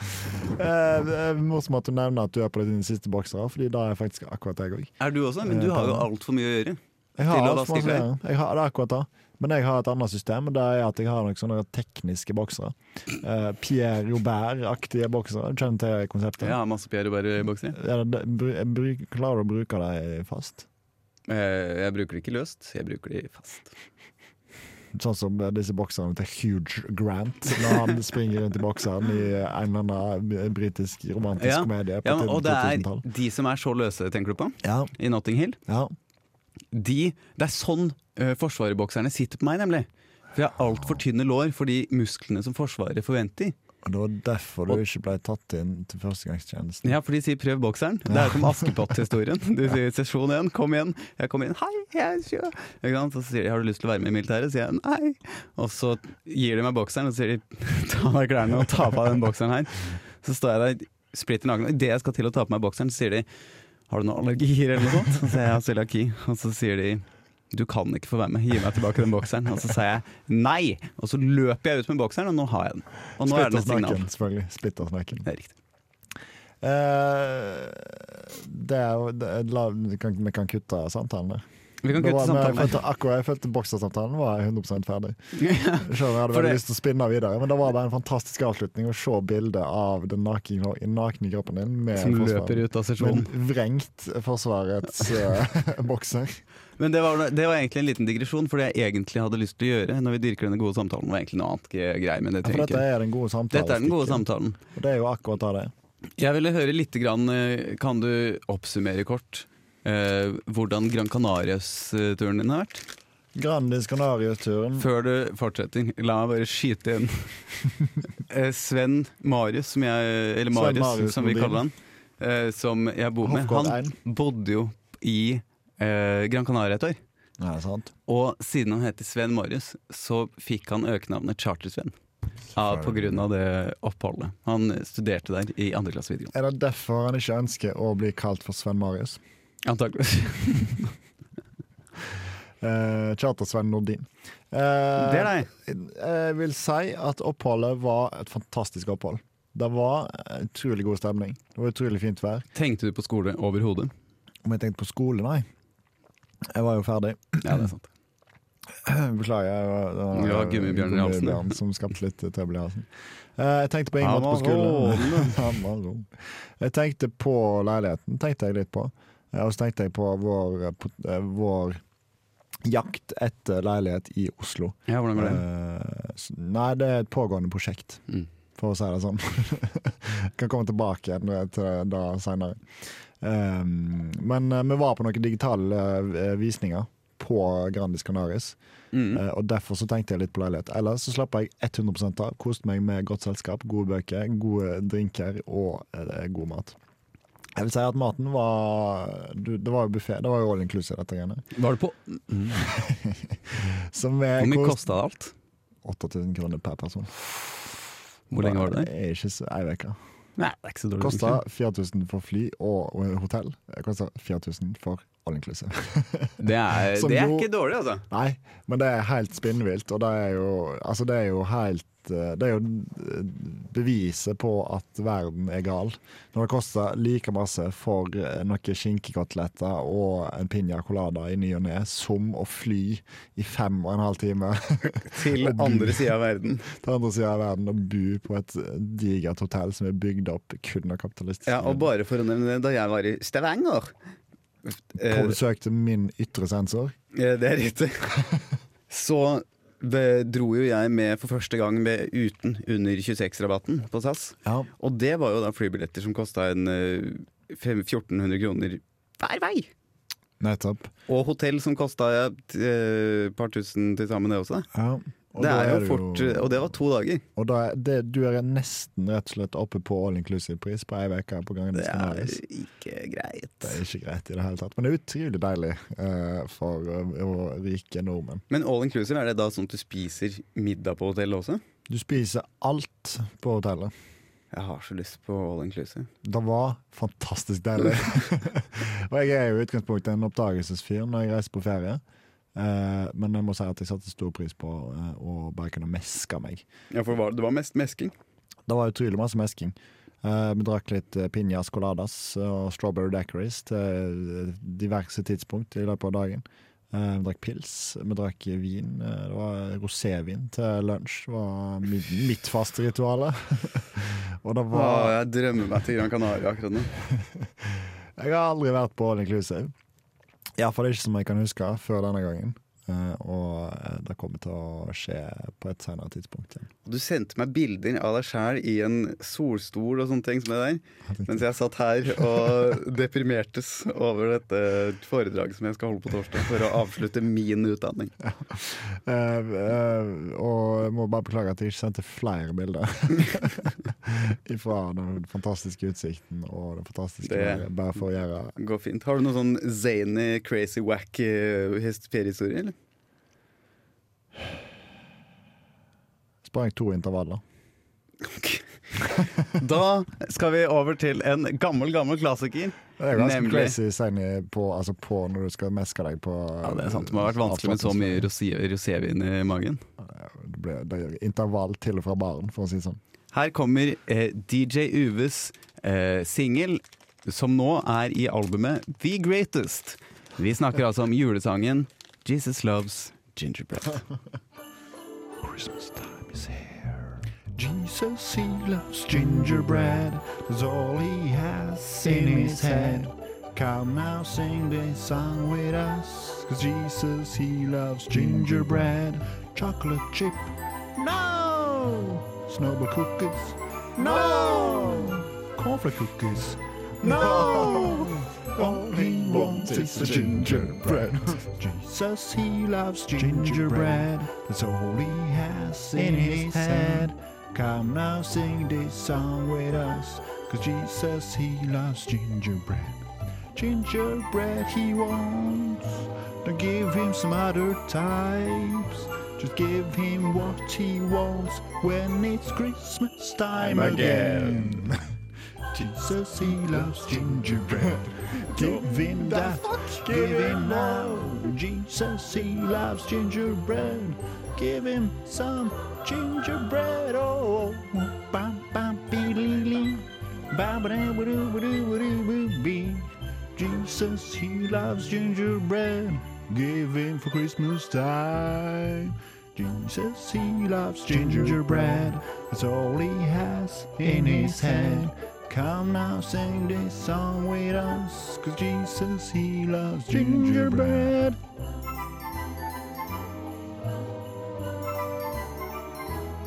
[SPEAKER 2] Eh, det er Morsomt at du nevner at du er på dine siste boksere, Fordi da er jeg faktisk akkurat jeg òg.
[SPEAKER 1] Er du også? Men du har jo altfor mye å gjøre.
[SPEAKER 2] Jeg har
[SPEAKER 1] Til å
[SPEAKER 2] alt for
[SPEAKER 1] vaske
[SPEAKER 2] masse å gjøre. Jeg har, det er akkurat det. Men jeg har et annet system, og det er at jeg har noen sånne tekniske boksere. Eh, Pierre Robert-aktige boksere. Kjenner til konseptet?
[SPEAKER 1] Jeg har masse Pierre Robert-boksere.
[SPEAKER 2] Er det, bru- jeg bru- klarer du å bruke dem fast?
[SPEAKER 1] Eh, Jeg bruker det ikke løst, jeg bruker det fast.
[SPEAKER 2] Sånn som disse bokserne til Huge Grant, når han springer rundt i bokseren i en eller annen britisk romantisk
[SPEAKER 1] Ja.
[SPEAKER 2] komedie på
[SPEAKER 1] Ja, men, og det er
[SPEAKER 2] 2000-tallet.
[SPEAKER 1] de som er så løse, tenker du på,
[SPEAKER 2] Ja,
[SPEAKER 1] i Notting Hill.
[SPEAKER 2] ja.
[SPEAKER 1] De, det er sånn uh, forsvarerbokserne sitter på meg, nemlig. For jeg har altfor tynne lår for de musklene som Forsvaret forventer.
[SPEAKER 2] Og det var derfor du ikke ble tatt inn til førstegangstjenesten.
[SPEAKER 1] Ja, for de sier 'prøv bokseren'. Det er som Askepott-historien. De sier 'sesjon én, kom igjen'. Jeg kommer inn 'hei, jeg er tjue'. Ikke sant? Så sier de 'har du lyst til å være med i militæret'? sier jeg 'nei'. Og så gir de meg bokseren, og så sier de 'ta av deg klærne og ta på deg den bokseren her'. Så står jeg der splitter naken. og Idet jeg skal til å ta på meg bokseren, så sier de 'har du noen allergier eller noe sånt?' Så sier jeg 'jeg har cøliaki'. Og så sier de du kan ikke få være med, gi meg tilbake den bokseren. Og så sier jeg nei! Og så løper jeg ut med bokseren, og nå har jeg den. Og nå er den et signal.
[SPEAKER 2] Splittersnaken, selvfølgelig. Splittersnaken.
[SPEAKER 1] Det er riktig.
[SPEAKER 2] Eh, det er jo det- la- Vi kan, vi kan kutte samtalen der.
[SPEAKER 1] Vi kan
[SPEAKER 2] Det
[SPEAKER 1] kutte
[SPEAKER 2] var- men
[SPEAKER 1] samtalen.
[SPEAKER 2] Jeg følte, akkurat jeg følte boksersamtalen var jeg 100 ferdig.
[SPEAKER 1] Ja.
[SPEAKER 2] Selv hadde
[SPEAKER 1] For
[SPEAKER 2] veldig
[SPEAKER 1] det-
[SPEAKER 2] lyst til å spinne videre, men det var bare en fantastisk avslutning å se bildet av den nakne, nakne kroppen din med,
[SPEAKER 1] Som
[SPEAKER 2] forsvaret.
[SPEAKER 1] løper ut av
[SPEAKER 2] med
[SPEAKER 1] sesjonen.
[SPEAKER 2] en vrengt Forsvarets eh, bokser.
[SPEAKER 1] Men det var, det var egentlig en liten digresjon, for det jeg egentlig hadde lyst til å gjøre når vi dyrker denne gode samtalen, var egentlig noe annet gre- greier. Men det
[SPEAKER 2] Ja,
[SPEAKER 1] trenger
[SPEAKER 2] For
[SPEAKER 1] jeg
[SPEAKER 2] dette
[SPEAKER 1] ikke.
[SPEAKER 2] er den gode samtalen.
[SPEAKER 1] Dette er den gode samtalen.
[SPEAKER 2] Og det er jo akkurat det det er.
[SPEAKER 1] Jeg ville høre litt grann, eh, Kan du oppsummere kort eh, hvordan Gran Canarias-turen din har vært?
[SPEAKER 2] Grandis Canarias-turen.
[SPEAKER 1] Før du fortsetter, la meg bare skyte inn. Eh, Sven Marius, som jeg, eller
[SPEAKER 2] Sven
[SPEAKER 1] Marius,
[SPEAKER 2] Marius
[SPEAKER 1] som vi
[SPEAKER 2] Nordin.
[SPEAKER 1] kaller han, eh, som jeg bor med,
[SPEAKER 2] Hoffgård
[SPEAKER 1] han bodde jo i eh, Gran Canaria et år.
[SPEAKER 2] Ja, sant.
[SPEAKER 1] Og siden han heter Sven Marius, så fikk han økenavnet Charter-Sven. Ja, på grunn av det oppholdet. Han studerte der i andre klasse videregående.
[SPEAKER 2] Er det derfor han ikke ønsker å bli kalt for Sven Marius?
[SPEAKER 1] Antakeligvis.
[SPEAKER 2] Eh, Charter-Sven Nordin. Eh,
[SPEAKER 1] Det er deg.
[SPEAKER 2] Jeg vil si at oppholdet var et fantastisk opphold. Det var utrolig god stemning. Det var utrolig fint vær.
[SPEAKER 1] Tenkte du på skole overhodet?
[SPEAKER 2] Om jeg tenkte på skole, nei. Jeg var jo ferdig.
[SPEAKER 1] Ja, det er sant.
[SPEAKER 2] Beklager. Jeg var, det var,
[SPEAKER 1] Du har gummibjørn i halsen, ja.
[SPEAKER 2] gummibjørn Som skapte litt trøbbel i halsen. Eh, Jeg tenkte på Ingvar på
[SPEAKER 1] Amarone.
[SPEAKER 2] skolen. Amarone. jeg tenkte på leiligheten, tenkte jeg litt på. Eh, Og så tenkte jeg på vår, eh, pot- eh, vår jakt etter leilighet i Oslo.
[SPEAKER 1] Ja, hvordan går det?
[SPEAKER 2] Eh, s- Nei, det er et pågående prosjekt,
[SPEAKER 1] Mm.
[SPEAKER 2] for å si det sånn. Jeg kan komme tilbake igjen til det seinere. Men eh, vi var på noen digitale eh, visninger på Grandis Canaris.
[SPEAKER 1] Mm.
[SPEAKER 2] Eh, Og Derfor så tenkte jeg litt på leilighet. Ellers så slapp jeg 100 av. Koste meg med godt selskap, gode bøker, gode drinker og eh, god mat. Jeg vil si at maten var du, Det var jo buffé. Det var jo all inclusive, dette greiene.
[SPEAKER 1] Var det på
[SPEAKER 2] Så
[SPEAKER 1] Hvor
[SPEAKER 2] vi
[SPEAKER 1] mye
[SPEAKER 2] eh, kost
[SPEAKER 1] kosta alt?
[SPEAKER 2] 8000 kroner per person.
[SPEAKER 1] Hvor lenge var det der?
[SPEAKER 2] Det er ikke så, Ei uke.
[SPEAKER 1] Nei, det er ikke så dårlig.
[SPEAKER 2] Kosta 4000 for fly og og hotell. Kosta 4000 for all inclusive.
[SPEAKER 1] egentlig. Det er,
[SPEAKER 2] Som
[SPEAKER 1] det er
[SPEAKER 2] jo-
[SPEAKER 1] ikke dårlig, altså.
[SPEAKER 2] Nei, men det er helt spinnvilt, og det er jo, altså det er jo helt eh, Det er jo eh, beviset på at verden er gal. Når det koster like masse for eh, noen skinkekoteletter og en piña colada i ny og ne, som å fly i fem og en halv time
[SPEAKER 1] Til andre sida av verden.
[SPEAKER 2] til andre sida av verden og bo på et eh, digert hotell som er bygd opp kun av kapitalistiske
[SPEAKER 1] Ja, og
[SPEAKER 2] grunner.
[SPEAKER 1] bare for å nevne det, da jeg var i Stavanger eh,
[SPEAKER 2] På besøk til min ytre sensor.
[SPEAKER 1] eh, Det er riktig. Så be- dro jo jeg med for første gang med uten under 26-rabatten på SAS.
[SPEAKER 2] Ja.
[SPEAKER 1] Og det var jo da flybilletter som kosta en eh, fem- 1400 kroner hver vei.
[SPEAKER 2] Nettopp.
[SPEAKER 1] Og hotell som kosta eh, et par tusen til sammen, det også.
[SPEAKER 2] Ja.
[SPEAKER 1] det
[SPEAKER 2] da
[SPEAKER 1] er jo
[SPEAKER 2] det
[SPEAKER 1] fort, eh, Og det var to dager.
[SPEAKER 2] Og da, er- det, du er nesten rett og slett oppe på all inclusive-pris på ei uke på gangen.
[SPEAKER 1] Det
[SPEAKER 2] Det,
[SPEAKER 1] er ikke greit.
[SPEAKER 2] det er ikke greit i det hele tatt. Men det er utrolig deilig eh, for eh, våre rike nordmenn.
[SPEAKER 1] Men all inclusive, er det da sånn at du spiser middag på hotellet også?
[SPEAKER 2] Du spiser alt på hotellet.
[SPEAKER 1] Jeg har så lyst på all inclusive.
[SPEAKER 2] Det var fantastisk deilig. og jeg er jo i utgangspunktet en oppdagelsesfyr når jeg reiser på ferie. Eh, men jeg må si at jeg satte stor pris på eh, å bare kunne meske meg.
[SPEAKER 1] Ja, for var- det var mest mesking.
[SPEAKER 2] Det var utrolig masse mesking. Eh, vi drakk litt uh, piñas coladas eh, og strawberry daiquiris til eh, diverse tidspunkt i løpet av dagen. Eh, vi drakk pils, vi drakk vin. eh, det var rosévin til lunsj. Det var mi- mitt faste ritual. og det
[SPEAKER 1] Å,
[SPEAKER 2] var
[SPEAKER 1] jeg drømmer meg til Gran Canaria akkurat nå.
[SPEAKER 2] Jeg har aldri vært på all inclusive. Iallfall ikke som jeg kan huske før denne gangen. Eh, og eh, det kommer til å skje på et senere tidspunkt. igjen.
[SPEAKER 1] Du sendte meg bilder av deg sjæl i en solstol og sånne ting som det der, mens jeg satt her og deprimertes over dette foredraget som jeg skal holde på torsdag for å avslutte min utdanning.
[SPEAKER 2] Eh, eh, og jeg må bare beklage at jeg ikke sendte flere bilder. Ifra den fantastiske utsikten og det fantastiske
[SPEAKER 1] Det-
[SPEAKER 2] været. Bare for å gjøre
[SPEAKER 1] Går fint. Har du noen sånn zany, crazy, wack eh, hest- feriehistorie, eller?
[SPEAKER 2] Sprang to intervaller.
[SPEAKER 1] Da skal vi over til en gammel, gammel klassiker.
[SPEAKER 2] Det er ganske
[SPEAKER 1] Nemlig.
[SPEAKER 2] crazy seni på, altså på når du skal meske deg på eh,
[SPEAKER 1] Ja, det er sant. Det må ha vært vanskelig med så mye rosé- rosévin i magen.
[SPEAKER 2] Det ble- det er intervall til og fra baren, for å si det sånn.
[SPEAKER 1] Her kommer eh, DJ Uves eh, singel, som nå er i albumet The Greatest. Vi snakker altså om julesangen Jesus Loves Gingerbread.
[SPEAKER 2] Christmas time is here. Jesus, he loves gingerbread. That's all he has in his head. Come now, sing this song with us. Cause Jesus, he loves gingerbread. Chocolate chip, no! Snowball cookies, no! Cornflake cookies, no! All he wants is the gingerbread. Jesus, he loves gingerbread. That's all he has in his head. Come now, sing this song with us. Cause Jesus, he loves gingerbread. Gingerbread he wants. Don't give him some other types. Just give him what he wants when it's Christmas time again. Jesus, he loves gingerbread. Give him that, give him now. Jesus, he loves gingerbread. Give him some gingerbread. Oh, bam, bam, bee, bam, Jesus, he loves gingerbread. giving for Christmas time. Jesus, he loves gingerbread. That's all he has in his hand. Come now, sing this song with us. Cause Jesus, he loves gingerbread.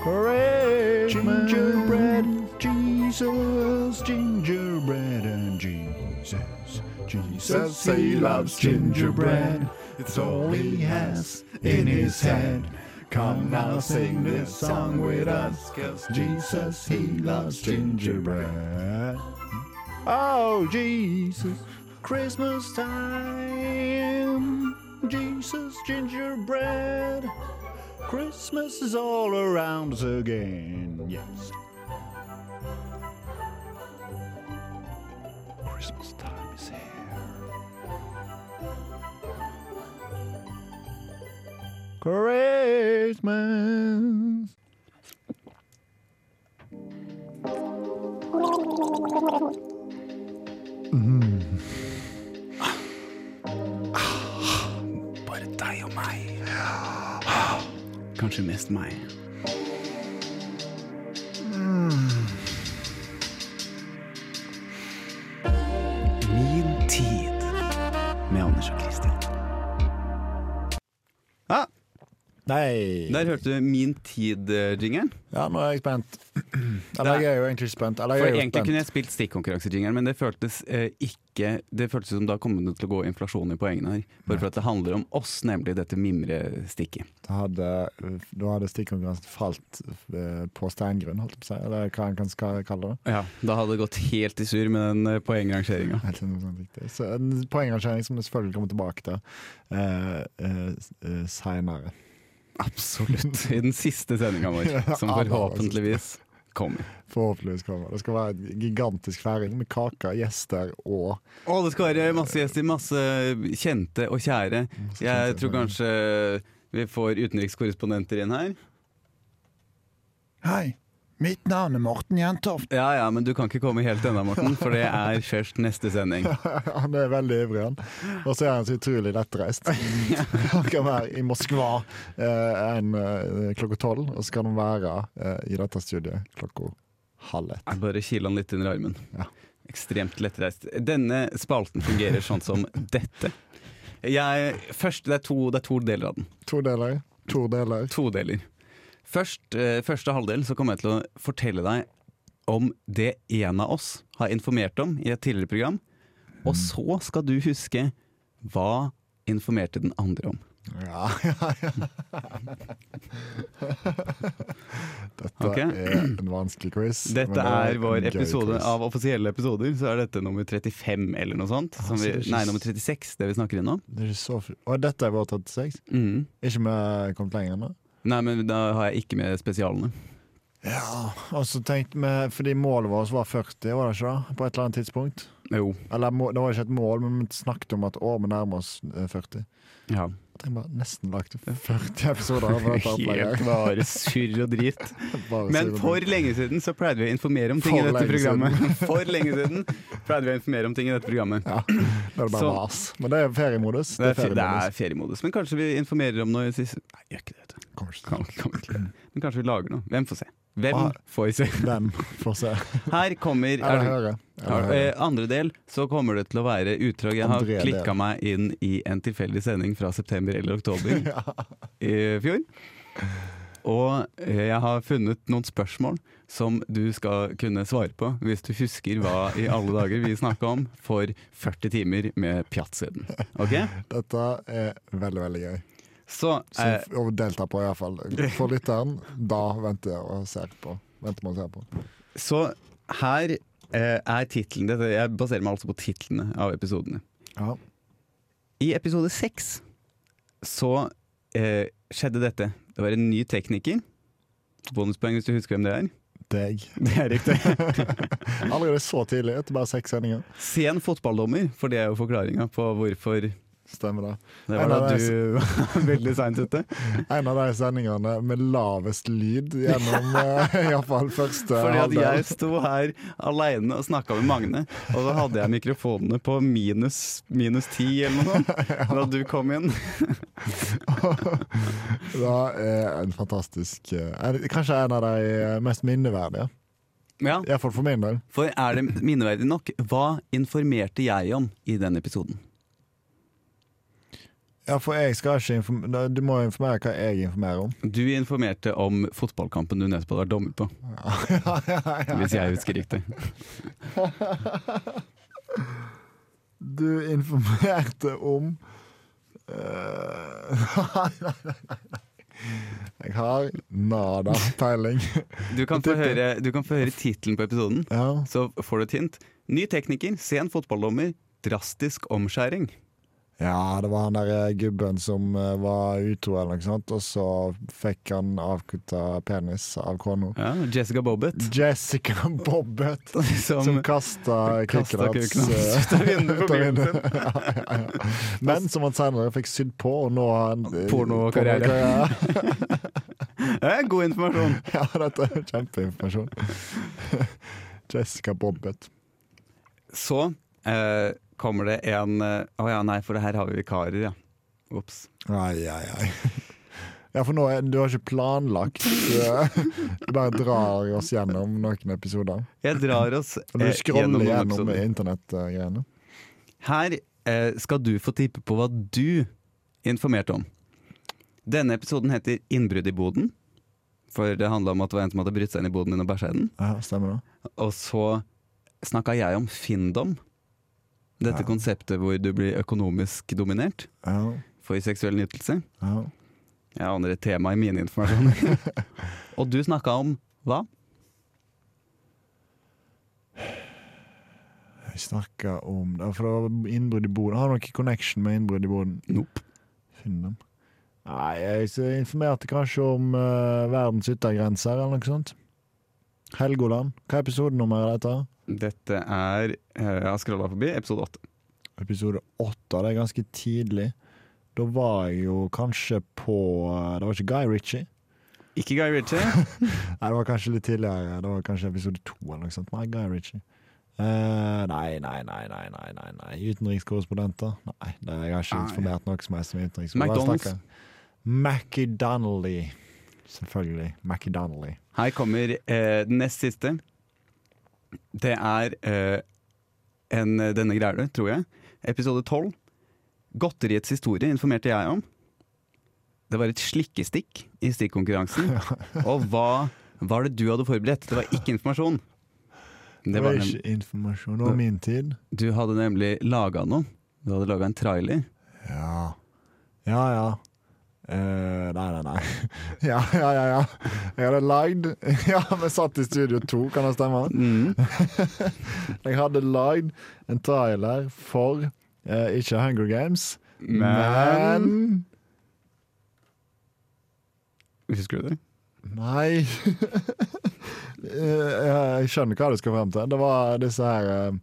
[SPEAKER 2] Hooray! Gingerbread, Jesus, gingerbread, and Jesus. Jesus, he loves gingerbread. It's all he has in his hand. Come now, sing this song with us, cause Jesus, he loves gingerbread. Oh, Jesus, Christmas time. Jesus, gingerbread. Christmas is all around us again. Yes. Christmas time is here. Christmas.
[SPEAKER 1] Bare deg og meg. Kanskje mest meg. Min tid med Anders og Christian. Ah,
[SPEAKER 2] Nei.
[SPEAKER 1] der hørte du Min eh, tid-jingeren.
[SPEAKER 2] Ja, nå er jeg spent.
[SPEAKER 1] Det
[SPEAKER 2] Eller
[SPEAKER 1] er-
[SPEAKER 2] jeg er jo egentlig ikke spent. Eller
[SPEAKER 1] For
[SPEAKER 2] jeg er jo
[SPEAKER 1] Egentlig
[SPEAKER 2] spent.
[SPEAKER 1] kunne jeg spilt stikkonkurransejingeren, men det føltes eh, ikke Det føltes som da kommer det til å gå inflasjon i poengene her. Bare for at det handler om oss, nemlig dette mimrestikket.
[SPEAKER 2] Da hadde, da hadde stikkonkurransen falt eh, på steingrunn, holdt jeg på å si. Eller hva en kan skal kalle det.
[SPEAKER 1] Ja, da hadde det gått helt i surr med den eh, poengrangeringa.
[SPEAKER 2] Helt sånn- sånn riktig. Så en poengrangering som vi selvfølgelig kommer tilbake til uh, eh, seinere.
[SPEAKER 1] Absolutt. I den siste sendinga vår, som
[SPEAKER 2] Ja, det var
[SPEAKER 1] forhåpentligvis kommer.
[SPEAKER 2] Forhåpentligvis kommer. Det skal være et gigantisk feiring med kaker, gjester og
[SPEAKER 1] Å, det skal være masse gjester, masse kjente og kjære. Jeg tror kanskje vi får utenrikskorrespondenter inn her.
[SPEAKER 2] Hei, mitt navn er Morten Jentoft.
[SPEAKER 1] Ja ja, men du kan ikke komme helt ennå, Morten, for det er først neste sending.
[SPEAKER 2] han er veldig ivrig, han. Og så er han så utrolig lettreist. Han kan være i Moskva eh, en, eh, klokka tolv, og så kan han være eh, i dette studioet klokka halv ett.
[SPEAKER 1] Jeg bare kiler han litt under armen.
[SPEAKER 2] Ja.
[SPEAKER 1] Ekstremt lettreist. Denne spalten fungerer sånn som dette. Jeg, først, det, er to, det er to deler av den.
[SPEAKER 2] To deler. To deler.
[SPEAKER 1] To deler. Først, eh, første halvdel så kommer jeg til å fortelle deg om det en av oss har informert om i et tidligere program.
[SPEAKER 2] Mm.
[SPEAKER 1] Og så skal du huske hva informerte den andre om.
[SPEAKER 2] Ja, ja, ja. Dette
[SPEAKER 1] Ok.
[SPEAKER 2] er en vanskelig quiz. men
[SPEAKER 1] Dette
[SPEAKER 2] det
[SPEAKER 1] er
[SPEAKER 2] en
[SPEAKER 1] vår
[SPEAKER 2] gøy
[SPEAKER 1] episode
[SPEAKER 2] quiz.
[SPEAKER 1] av offisielle episoder. Så er dette nummer 35 eller noe sånt. Som vi,
[SPEAKER 2] så det er ikke
[SPEAKER 1] nei,
[SPEAKER 2] s-
[SPEAKER 1] nummer 36, det vi snakker inn om.
[SPEAKER 2] Det er ikke så fri- Og dette er vår 36?
[SPEAKER 1] Mhm.
[SPEAKER 2] Ikke vi kommet lenger nå?
[SPEAKER 1] Nei, men da har jeg ikke med spesialene.
[SPEAKER 2] Ja, og så tenkte vi, fordi målet vårt var 40, var det ikke det? På et eller annet tidspunkt.
[SPEAKER 1] Jo.
[SPEAKER 2] Eller må- det var ikke et mål, men vi snakket om at å, vi nærmer oss eh, 40.
[SPEAKER 1] Ja.
[SPEAKER 2] Jeg tenker bare nesten lagt 40 episoder av dette
[SPEAKER 1] Helt
[SPEAKER 2] opplegget.
[SPEAKER 1] bare surr og drit.
[SPEAKER 2] Bare
[SPEAKER 1] Men
[SPEAKER 2] si det.
[SPEAKER 1] for lenge siden så pleide vi å informere om ting
[SPEAKER 2] For
[SPEAKER 1] i dette
[SPEAKER 2] lenge
[SPEAKER 1] programmet. For lenge siden pleide vi å informere om ting i dette programmet.
[SPEAKER 2] Ja, det er bare
[SPEAKER 1] Så-
[SPEAKER 2] vas. Men det er feriemodus.
[SPEAKER 1] Det er, fe- det
[SPEAKER 2] feriemodus.
[SPEAKER 1] er feriemodus, men kanskje vi informerer om noe i siste Nei, gjør ikke det. vet du.
[SPEAKER 2] Kommer ikke til-
[SPEAKER 1] Kan, kan vi ikke det. Men kanskje vi lager noe. Hvem får se? Hvem
[SPEAKER 2] Ah.
[SPEAKER 1] får se?
[SPEAKER 2] Hvem får se?
[SPEAKER 1] Her kommer
[SPEAKER 2] Eller høre. Eller
[SPEAKER 1] Ja,
[SPEAKER 2] høre.
[SPEAKER 1] eh, andre del så kommer det til å være utdrag. Jeg har
[SPEAKER 2] Andre del.
[SPEAKER 1] klikka meg inn i en tilfeldig sending fra september eller oktober i fjor. Og eh, jeg har funnet noen spørsmål som du skal kunne svare på hvis du husker hva i alle dager vi snakka om for 40 timer med pjattsiden. Ok?
[SPEAKER 2] Dette er veldig, veldig gøy.
[SPEAKER 1] Så
[SPEAKER 2] Så
[SPEAKER 1] eh,
[SPEAKER 2] å delta på, iallfall. For lytteren, da venter jeg og ser på. Venter man og ser på.
[SPEAKER 1] Så her eh, er tittelen dette- Jeg baserer meg altså på titlene av episodene.
[SPEAKER 2] Ja.
[SPEAKER 1] I episode seks så eh, skjedde dette. Det var en ny tekniker. Bonuspoeng hvis du husker hvem det er.
[SPEAKER 2] Deg.
[SPEAKER 1] Det er riktig.
[SPEAKER 2] Allerede så tidlig, etter bare seks sendinger.
[SPEAKER 1] Sen fotballdommer, for det er jo forklaringa på hvorfor
[SPEAKER 2] Stemmer det.
[SPEAKER 1] Det var
[SPEAKER 2] Nei,
[SPEAKER 1] da
[SPEAKER 2] nei,
[SPEAKER 1] du var veldig seint ute.
[SPEAKER 2] En av de sendingene med lavest lyd gjennom eh, i hvert fall første
[SPEAKER 1] Fordi at
[SPEAKER 2] halvdel.
[SPEAKER 1] jeg sto her aleine og snakka med Magne, og da hadde jeg mikrofonene på minus, minus 10 eller noe sånt da du kom inn.
[SPEAKER 2] Det er en fantastisk eh, en- Kanskje en av de eh, mest minneverdige.
[SPEAKER 1] Ja,
[SPEAKER 2] Iallfall for min del.
[SPEAKER 1] For er det minneverdig nok, hva informerte jeg om i den episoden?
[SPEAKER 2] Ja, for jeg skal ikke inform- Du må informere hva jeg informerer om.
[SPEAKER 1] Du informerte om fotballkampen du nettopp hadde vært dommer på, hvis jeg husker riktig.
[SPEAKER 2] Du informerte om eh, Nei, nei, nei. nei. Jeg har nada peiling.
[SPEAKER 1] Du kan få høre, du kan få høre tittelen på episoden,
[SPEAKER 2] Ja.
[SPEAKER 1] så får du et hint. Ny tekniker, sen fotballdommer, drastisk omskjæring.
[SPEAKER 2] ja, det var han der eh, gubben som eh, var utro, eller noe sånt, og så fikk han avkutta penis av kona.
[SPEAKER 1] Ja, Jessica Bobbett.
[SPEAKER 2] Jessica Bobbett som
[SPEAKER 1] Som
[SPEAKER 2] kasta kuken
[SPEAKER 1] kasta
[SPEAKER 2] hans.
[SPEAKER 1] kuken hans ut av vinduet på
[SPEAKER 2] ut av
[SPEAKER 1] bilen
[SPEAKER 2] vinduet. Ja, ja, ja. Men som han senere fikk sydd på, og nå har han eh,
[SPEAKER 1] Pornokarriere.
[SPEAKER 2] pornokarriere.
[SPEAKER 1] ja, God informasjon!
[SPEAKER 2] Ja, dette er kjempeinformasjon. Jessica Bobbett.
[SPEAKER 1] Så eh, kommer det en eh, Å ja, nei, for det her har vi vikarer, ja. Ops.
[SPEAKER 2] Ai, ai, ai. Ja, for nå er, du har ikke planlagt eh, Du bare drar oss gjennom noen episoder.
[SPEAKER 1] Jeg drar oss
[SPEAKER 2] Og du
[SPEAKER 1] eh,
[SPEAKER 2] scroller
[SPEAKER 1] noen
[SPEAKER 2] gjennom
[SPEAKER 1] episoder.
[SPEAKER 2] internettgreiene.
[SPEAKER 1] Her eh, skal du få tippe på hva du informerte om. Denne episoden heter 'Innbrudd i boden', for det handla om at det var en som hadde brutt seg inn i boden din og bæsja i den.
[SPEAKER 2] Ja, stemmer det?
[SPEAKER 1] Og så snakka jeg om finndom. Dette
[SPEAKER 2] Ja.
[SPEAKER 1] konseptet hvor du blir økonomisk dominert
[SPEAKER 2] Ja,
[SPEAKER 1] for seksuell nytelse.
[SPEAKER 2] ja.
[SPEAKER 1] Jeg aner et tema i mine informasjoner. og du snakka om hva?
[SPEAKER 2] Vi snakka om det, for det var innbrudd i Boden. Har du noen connection med innbrudd i Boden?
[SPEAKER 1] Nope.
[SPEAKER 2] Finn dem. Nei, jeg s- informerte kanskje om eh, verdens yttergrenser eller noe sånt. Helgoland. Hva er episodenummer er dette?
[SPEAKER 1] Dette er eh, Jeg har scrolla forbi episode åtte.
[SPEAKER 2] Episode åtte. Det er ganske tidlig. Da var jeg jo kanskje på eh, Det var ikke Guy Ritchie.
[SPEAKER 1] Ikke Guy Ritchie.
[SPEAKER 2] Nei, det var kanskje litt tidligere. Det var kanskje episode to eller noe sånt. Nei, Guy Ritchie. Eh, nei, nei, nei, nei, nei, nei, nei. Utenrikskorrespondenter? Nei, det, jeg har ikke
[SPEAKER 1] Nei.
[SPEAKER 2] informert noe som helst om
[SPEAKER 1] McDonald's.
[SPEAKER 2] utenrikskorrespondenter. Mackie Donnelly. Selvfølgelig. Mackie Donnelly.
[SPEAKER 1] Her kommer eh, den nest siste. Det er eh, en Denne greier du, tror jeg. Episode 12. Godteriets historie informerte jeg om. Det var et slikkestikk i stikkonkurransen. Og hva var det du hadde forberedt? Det var ikke informasjon.
[SPEAKER 2] Det
[SPEAKER 1] Det
[SPEAKER 2] var
[SPEAKER 1] var nem-
[SPEAKER 2] ikke informasjon om min tid.
[SPEAKER 1] du hadde nemlig laga noe. Du hadde laga en trailer.
[SPEAKER 2] Ja. Ja, ja. Eh, nei, nei, nei. Ja, ja, ja. ja. Jeg hadde lagd Ja, vi satt i studio to, kan det stemme? Mm. Jeg hadde lagd en trailer for eh, ikke Hunger Games, men
[SPEAKER 1] Husker du det?
[SPEAKER 2] Nei. Eh, jeg skjønner hva du skal frem til. Det var disse her eh,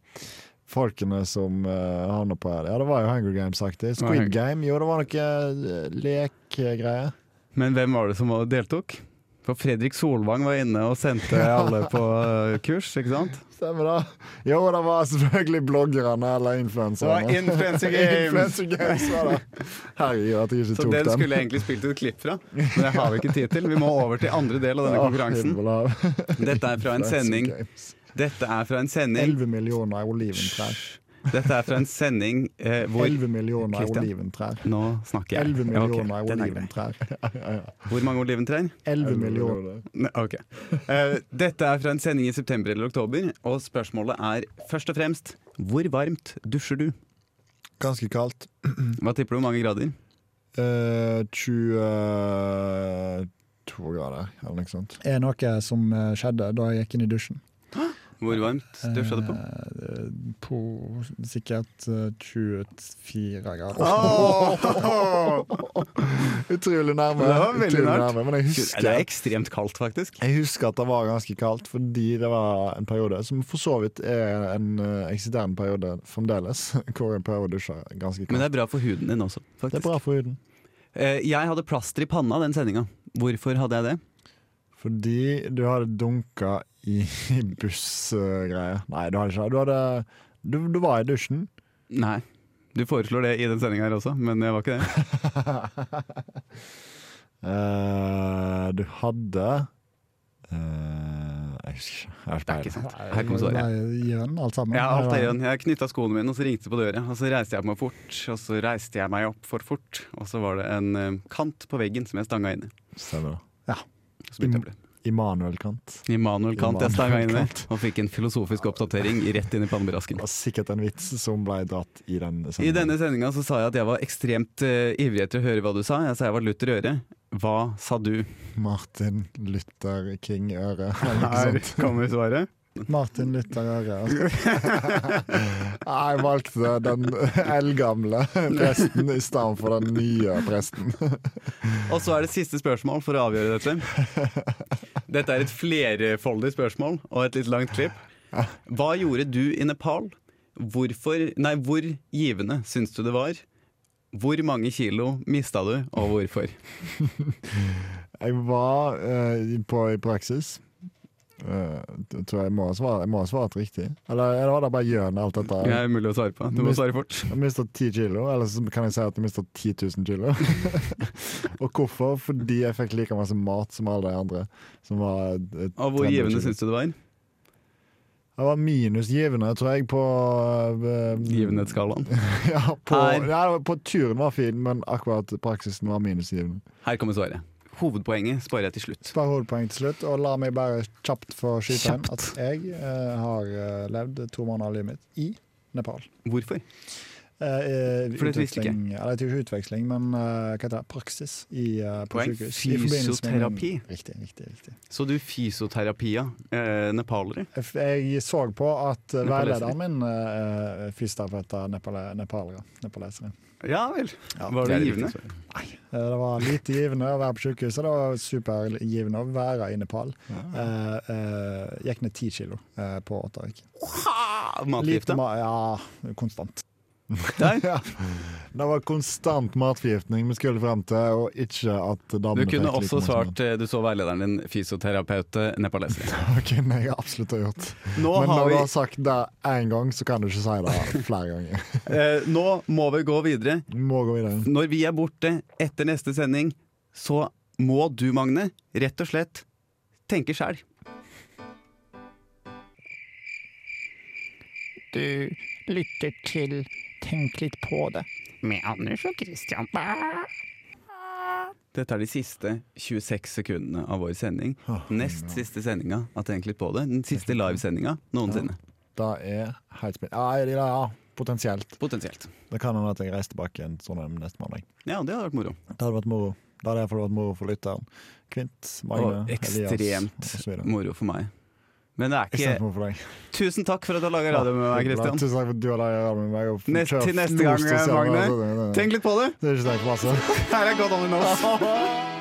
[SPEAKER 2] folkene som uh, havna på Ja, det var jo Hunger Games-aktig. Squid
[SPEAKER 1] Nei.
[SPEAKER 2] Game, jo, det var noe eh, lekegreier.
[SPEAKER 1] Men hvem var det som deltok? For Fredrik Solvang var inne og sendte alle på eh, kurs, ikke sant?
[SPEAKER 2] Stemmer det. Jo, det var selvfølgelig bloggerne eller influenserne.
[SPEAKER 1] Influencer
[SPEAKER 2] Influencer Games var det. Herregud, at jeg ikke
[SPEAKER 1] Så
[SPEAKER 2] tok
[SPEAKER 1] den
[SPEAKER 2] den.
[SPEAKER 1] skulle jeg egentlig spilt et klipp fra, men det har vi ikke tid til. Vi må over til andre del av
[SPEAKER 2] Ah,
[SPEAKER 1] denne konkurransen. Dette er fra en sending Dette er fra en sending
[SPEAKER 2] 11 millioner oliventrær.
[SPEAKER 1] Dette er fra en sending eh, hvor
[SPEAKER 2] 11 millioner
[SPEAKER 1] Christian?
[SPEAKER 2] oliventrær.
[SPEAKER 1] Nå snakker jeg.
[SPEAKER 2] 11
[SPEAKER 1] Ja, ok,
[SPEAKER 2] millioner
[SPEAKER 1] den er grei.
[SPEAKER 2] oliventrær.
[SPEAKER 1] Hvor mange oliventrær?
[SPEAKER 2] 11 millioner.
[SPEAKER 1] Ne- Ok. Eh, dette er fra en sending i september eller oktober, og spørsmålet er først og fremst hvor varmt dusjer du?
[SPEAKER 2] Ganske kaldt.
[SPEAKER 1] Hva tipper du hvor mange grader?
[SPEAKER 2] Eh, 22 grader, eller noe sånt.
[SPEAKER 4] eh, er noe som eh, skjedde da jeg gikk inn i dusjen.
[SPEAKER 1] Hvor varmt dusja du på?
[SPEAKER 4] Eh, På sikkert eh, 24 grader.
[SPEAKER 2] Utrolig nærme.
[SPEAKER 1] Det var veldig
[SPEAKER 2] utrolig
[SPEAKER 1] nært.
[SPEAKER 2] nærme, Men jeg
[SPEAKER 1] Det
[SPEAKER 2] husker,
[SPEAKER 1] er ekstremt kaldt, faktisk.
[SPEAKER 2] jeg husker at det var ganske kaldt, fordi det var en periode som for så vidt er en eh, eksisterende periode fremdeles, hvor jeg prøver å dusje ganske
[SPEAKER 1] Men det
[SPEAKER 2] kaldt.
[SPEAKER 1] er bra for huden din også,
[SPEAKER 2] Det er
[SPEAKER 1] faktisk.
[SPEAKER 2] bra for huden.
[SPEAKER 1] Eh, Jeg hadde plaster i panna den sendinga. Hvorfor hadde jeg det?
[SPEAKER 2] Fordi du hadde dunka i bussgreier. Nei, du hadde ikke det. Du, hadde- du, du var i dusjen.
[SPEAKER 1] Nei. Du foreslår det i den sendinga her også, men jeg var ikke det.
[SPEAKER 2] Eh, du hadde eh, Jeg husker ikke. Jeg har
[SPEAKER 1] Det er
[SPEAKER 2] ikke peiling.
[SPEAKER 1] ikke sant. Her kom svaret.
[SPEAKER 4] Nei, Jørn, alt sammen.
[SPEAKER 1] Ja, alt er igjen. Jeg knytta skoene mine, og så ringte det på døra. Og så reiste jeg meg fort, og så reiste jeg meg opp for fort. Og så var det en eh, kant på veggen som jeg stanga inn i.
[SPEAKER 2] Stemmer det.
[SPEAKER 1] Så begynte jeg å blø.
[SPEAKER 2] Immanuel Kant.
[SPEAKER 1] Immanuel Kant jeg stanga inn
[SPEAKER 2] Immanuel
[SPEAKER 1] i,
[SPEAKER 2] Kant.
[SPEAKER 1] og fikk en filosofisk oppdatering rett inn i pannebrasken.
[SPEAKER 2] Det var sikkert en vits som ble dratt i den
[SPEAKER 1] I
[SPEAKER 2] sendingen.
[SPEAKER 1] denne sendinga så sa jeg at jeg var ekstremt eh, ivrig etter å høre hva du sa. Jeg sa jeg var lutter i øret. Hva sa du?
[SPEAKER 2] Martin Luther King Øre. Eller
[SPEAKER 1] Her
[SPEAKER 2] noe sånt.
[SPEAKER 1] kommer svaret.
[SPEAKER 4] Martin Luther Øre. altså.
[SPEAKER 2] Jeg valgte den eldgamle presten i stedet for den nye presten.
[SPEAKER 1] Og så er det siste spørsmål for å avgjøre dette. Dette er et flerfoldig spørsmål og et litt langt klipp. Hva gjorde du i Nepal? Hvorfor, nei, hvor givende syns du det var? Hvor mange kilo mista du, og hvorfor?
[SPEAKER 2] Jeg var eh, på, i praksis. Eh, det tror jeg må ha svart, jeg må ha svart riktig. Eller, eller var det bare gjøn alt dette?
[SPEAKER 1] Det er umulig å svare på. Du må svare fort.
[SPEAKER 2] Jeg mista 10 kilo, eller så kan jeg si at jeg mista 10 000 kilo. og hvorfor? Fordi jeg fikk like masse mat som alle de andre. Som var eh,
[SPEAKER 1] Og hvor
[SPEAKER 2] 30
[SPEAKER 1] givende
[SPEAKER 2] kilo.
[SPEAKER 1] syns du det var?
[SPEAKER 2] Jeg var minusgivende, tror jeg, på eh,
[SPEAKER 1] Givenhetsskalaen.
[SPEAKER 2] Ja, på,
[SPEAKER 1] Her.
[SPEAKER 2] ja, på turen var fin, men akkurat praksisen var minusgivende.
[SPEAKER 1] Her kommer svaret. Hovedpoenget sparer jeg til slutt.
[SPEAKER 4] Spar hovedpoeng til slutt, og la meg bare kjapt få skyte inn at
[SPEAKER 1] Kjapt.
[SPEAKER 4] jeg eh, har eh, levd to måneder av livet mitt i Nepal.
[SPEAKER 1] Hvorfor?
[SPEAKER 4] Eh, eh,
[SPEAKER 1] For det visste
[SPEAKER 4] utveksling- Eller det er ikke utveksling, men eh, hva heter det? praksis i, eh, på
[SPEAKER 1] Poeng.
[SPEAKER 4] sykehus. i forbindelse med min-
[SPEAKER 1] Fysioterapi.
[SPEAKER 4] Riktig, riktig, riktig.
[SPEAKER 1] Så du fysioterapia eh, nepalere?
[SPEAKER 4] Jeg f- Jeg så på at eh,
[SPEAKER 1] Nepalesere.
[SPEAKER 4] veilederen min eh, eh, fysioterapeut er nepale, nepalere. Nepalesere.
[SPEAKER 1] Ja vel. Var
[SPEAKER 4] det
[SPEAKER 1] du
[SPEAKER 4] er
[SPEAKER 1] givende?
[SPEAKER 4] Eh, Det var lite givende å være på sykehuset, det var supergivende å være i Nepal. Eh, eh, gikk ned ti kilo eh, på åtte uker.
[SPEAKER 1] Ha!
[SPEAKER 4] Lite
[SPEAKER 1] Matgifte?
[SPEAKER 4] ma ja, konstant.
[SPEAKER 1] Der.
[SPEAKER 2] Det var konstant matforgiftning vi skulle frem til, og ikke at damene
[SPEAKER 1] Du kunne
[SPEAKER 2] fikk like
[SPEAKER 1] også
[SPEAKER 2] masse
[SPEAKER 1] svart eh, du så veilederen din, fysioterapeut eh, nepaleser.
[SPEAKER 2] mat. Det kunne jeg absolutt ha gjort.
[SPEAKER 1] Nå,
[SPEAKER 2] Men
[SPEAKER 1] har
[SPEAKER 2] når du
[SPEAKER 1] vi,
[SPEAKER 2] har sagt det én gang, så kan du ikke si det flere ganger.
[SPEAKER 1] eh, nå må vi gå videre.
[SPEAKER 2] Vi må gå videre.
[SPEAKER 1] Når vi er borte etter neste sending, så må du, Magne, rett og slett tenke sjæl.
[SPEAKER 5] du lytter til Tenk litt på det. Med Anders og Christian.
[SPEAKER 1] Dette er de siste 26 sekundene av vår sending.
[SPEAKER 2] Åh,
[SPEAKER 1] Nest siste sendinga av Tenk litt på det. Den siste livesendinga noensinne.
[SPEAKER 2] Det er helt spennende. Ja, ja, ja, potensielt.
[SPEAKER 1] Potensielt.
[SPEAKER 2] Det kan hende at jeg reiser tilbake igjen til Trondheim neste mandag.
[SPEAKER 1] Ja, det hadde vært moro.
[SPEAKER 2] Det hadde vært moro. Det hadde iallfall vært moro for lytteren. Kvint, Magne,
[SPEAKER 1] Og
[SPEAKER 2] Elias
[SPEAKER 1] ekstremt
[SPEAKER 2] osv.
[SPEAKER 1] moro for meg. Men det er
[SPEAKER 2] Ekstremt
[SPEAKER 1] ikke
[SPEAKER 2] moro for deg.
[SPEAKER 1] Tusen takk for at du har laga radio med meg, Christian.
[SPEAKER 2] Tusen takk for at du har laget radio med meg. og
[SPEAKER 1] Nest-
[SPEAKER 2] kjørt
[SPEAKER 1] til neste gang,
[SPEAKER 2] most oss gjennom-
[SPEAKER 1] Magne. Tenk litt på det.
[SPEAKER 2] altså. Det er ikke så masse.
[SPEAKER 1] Her er godt om det nå.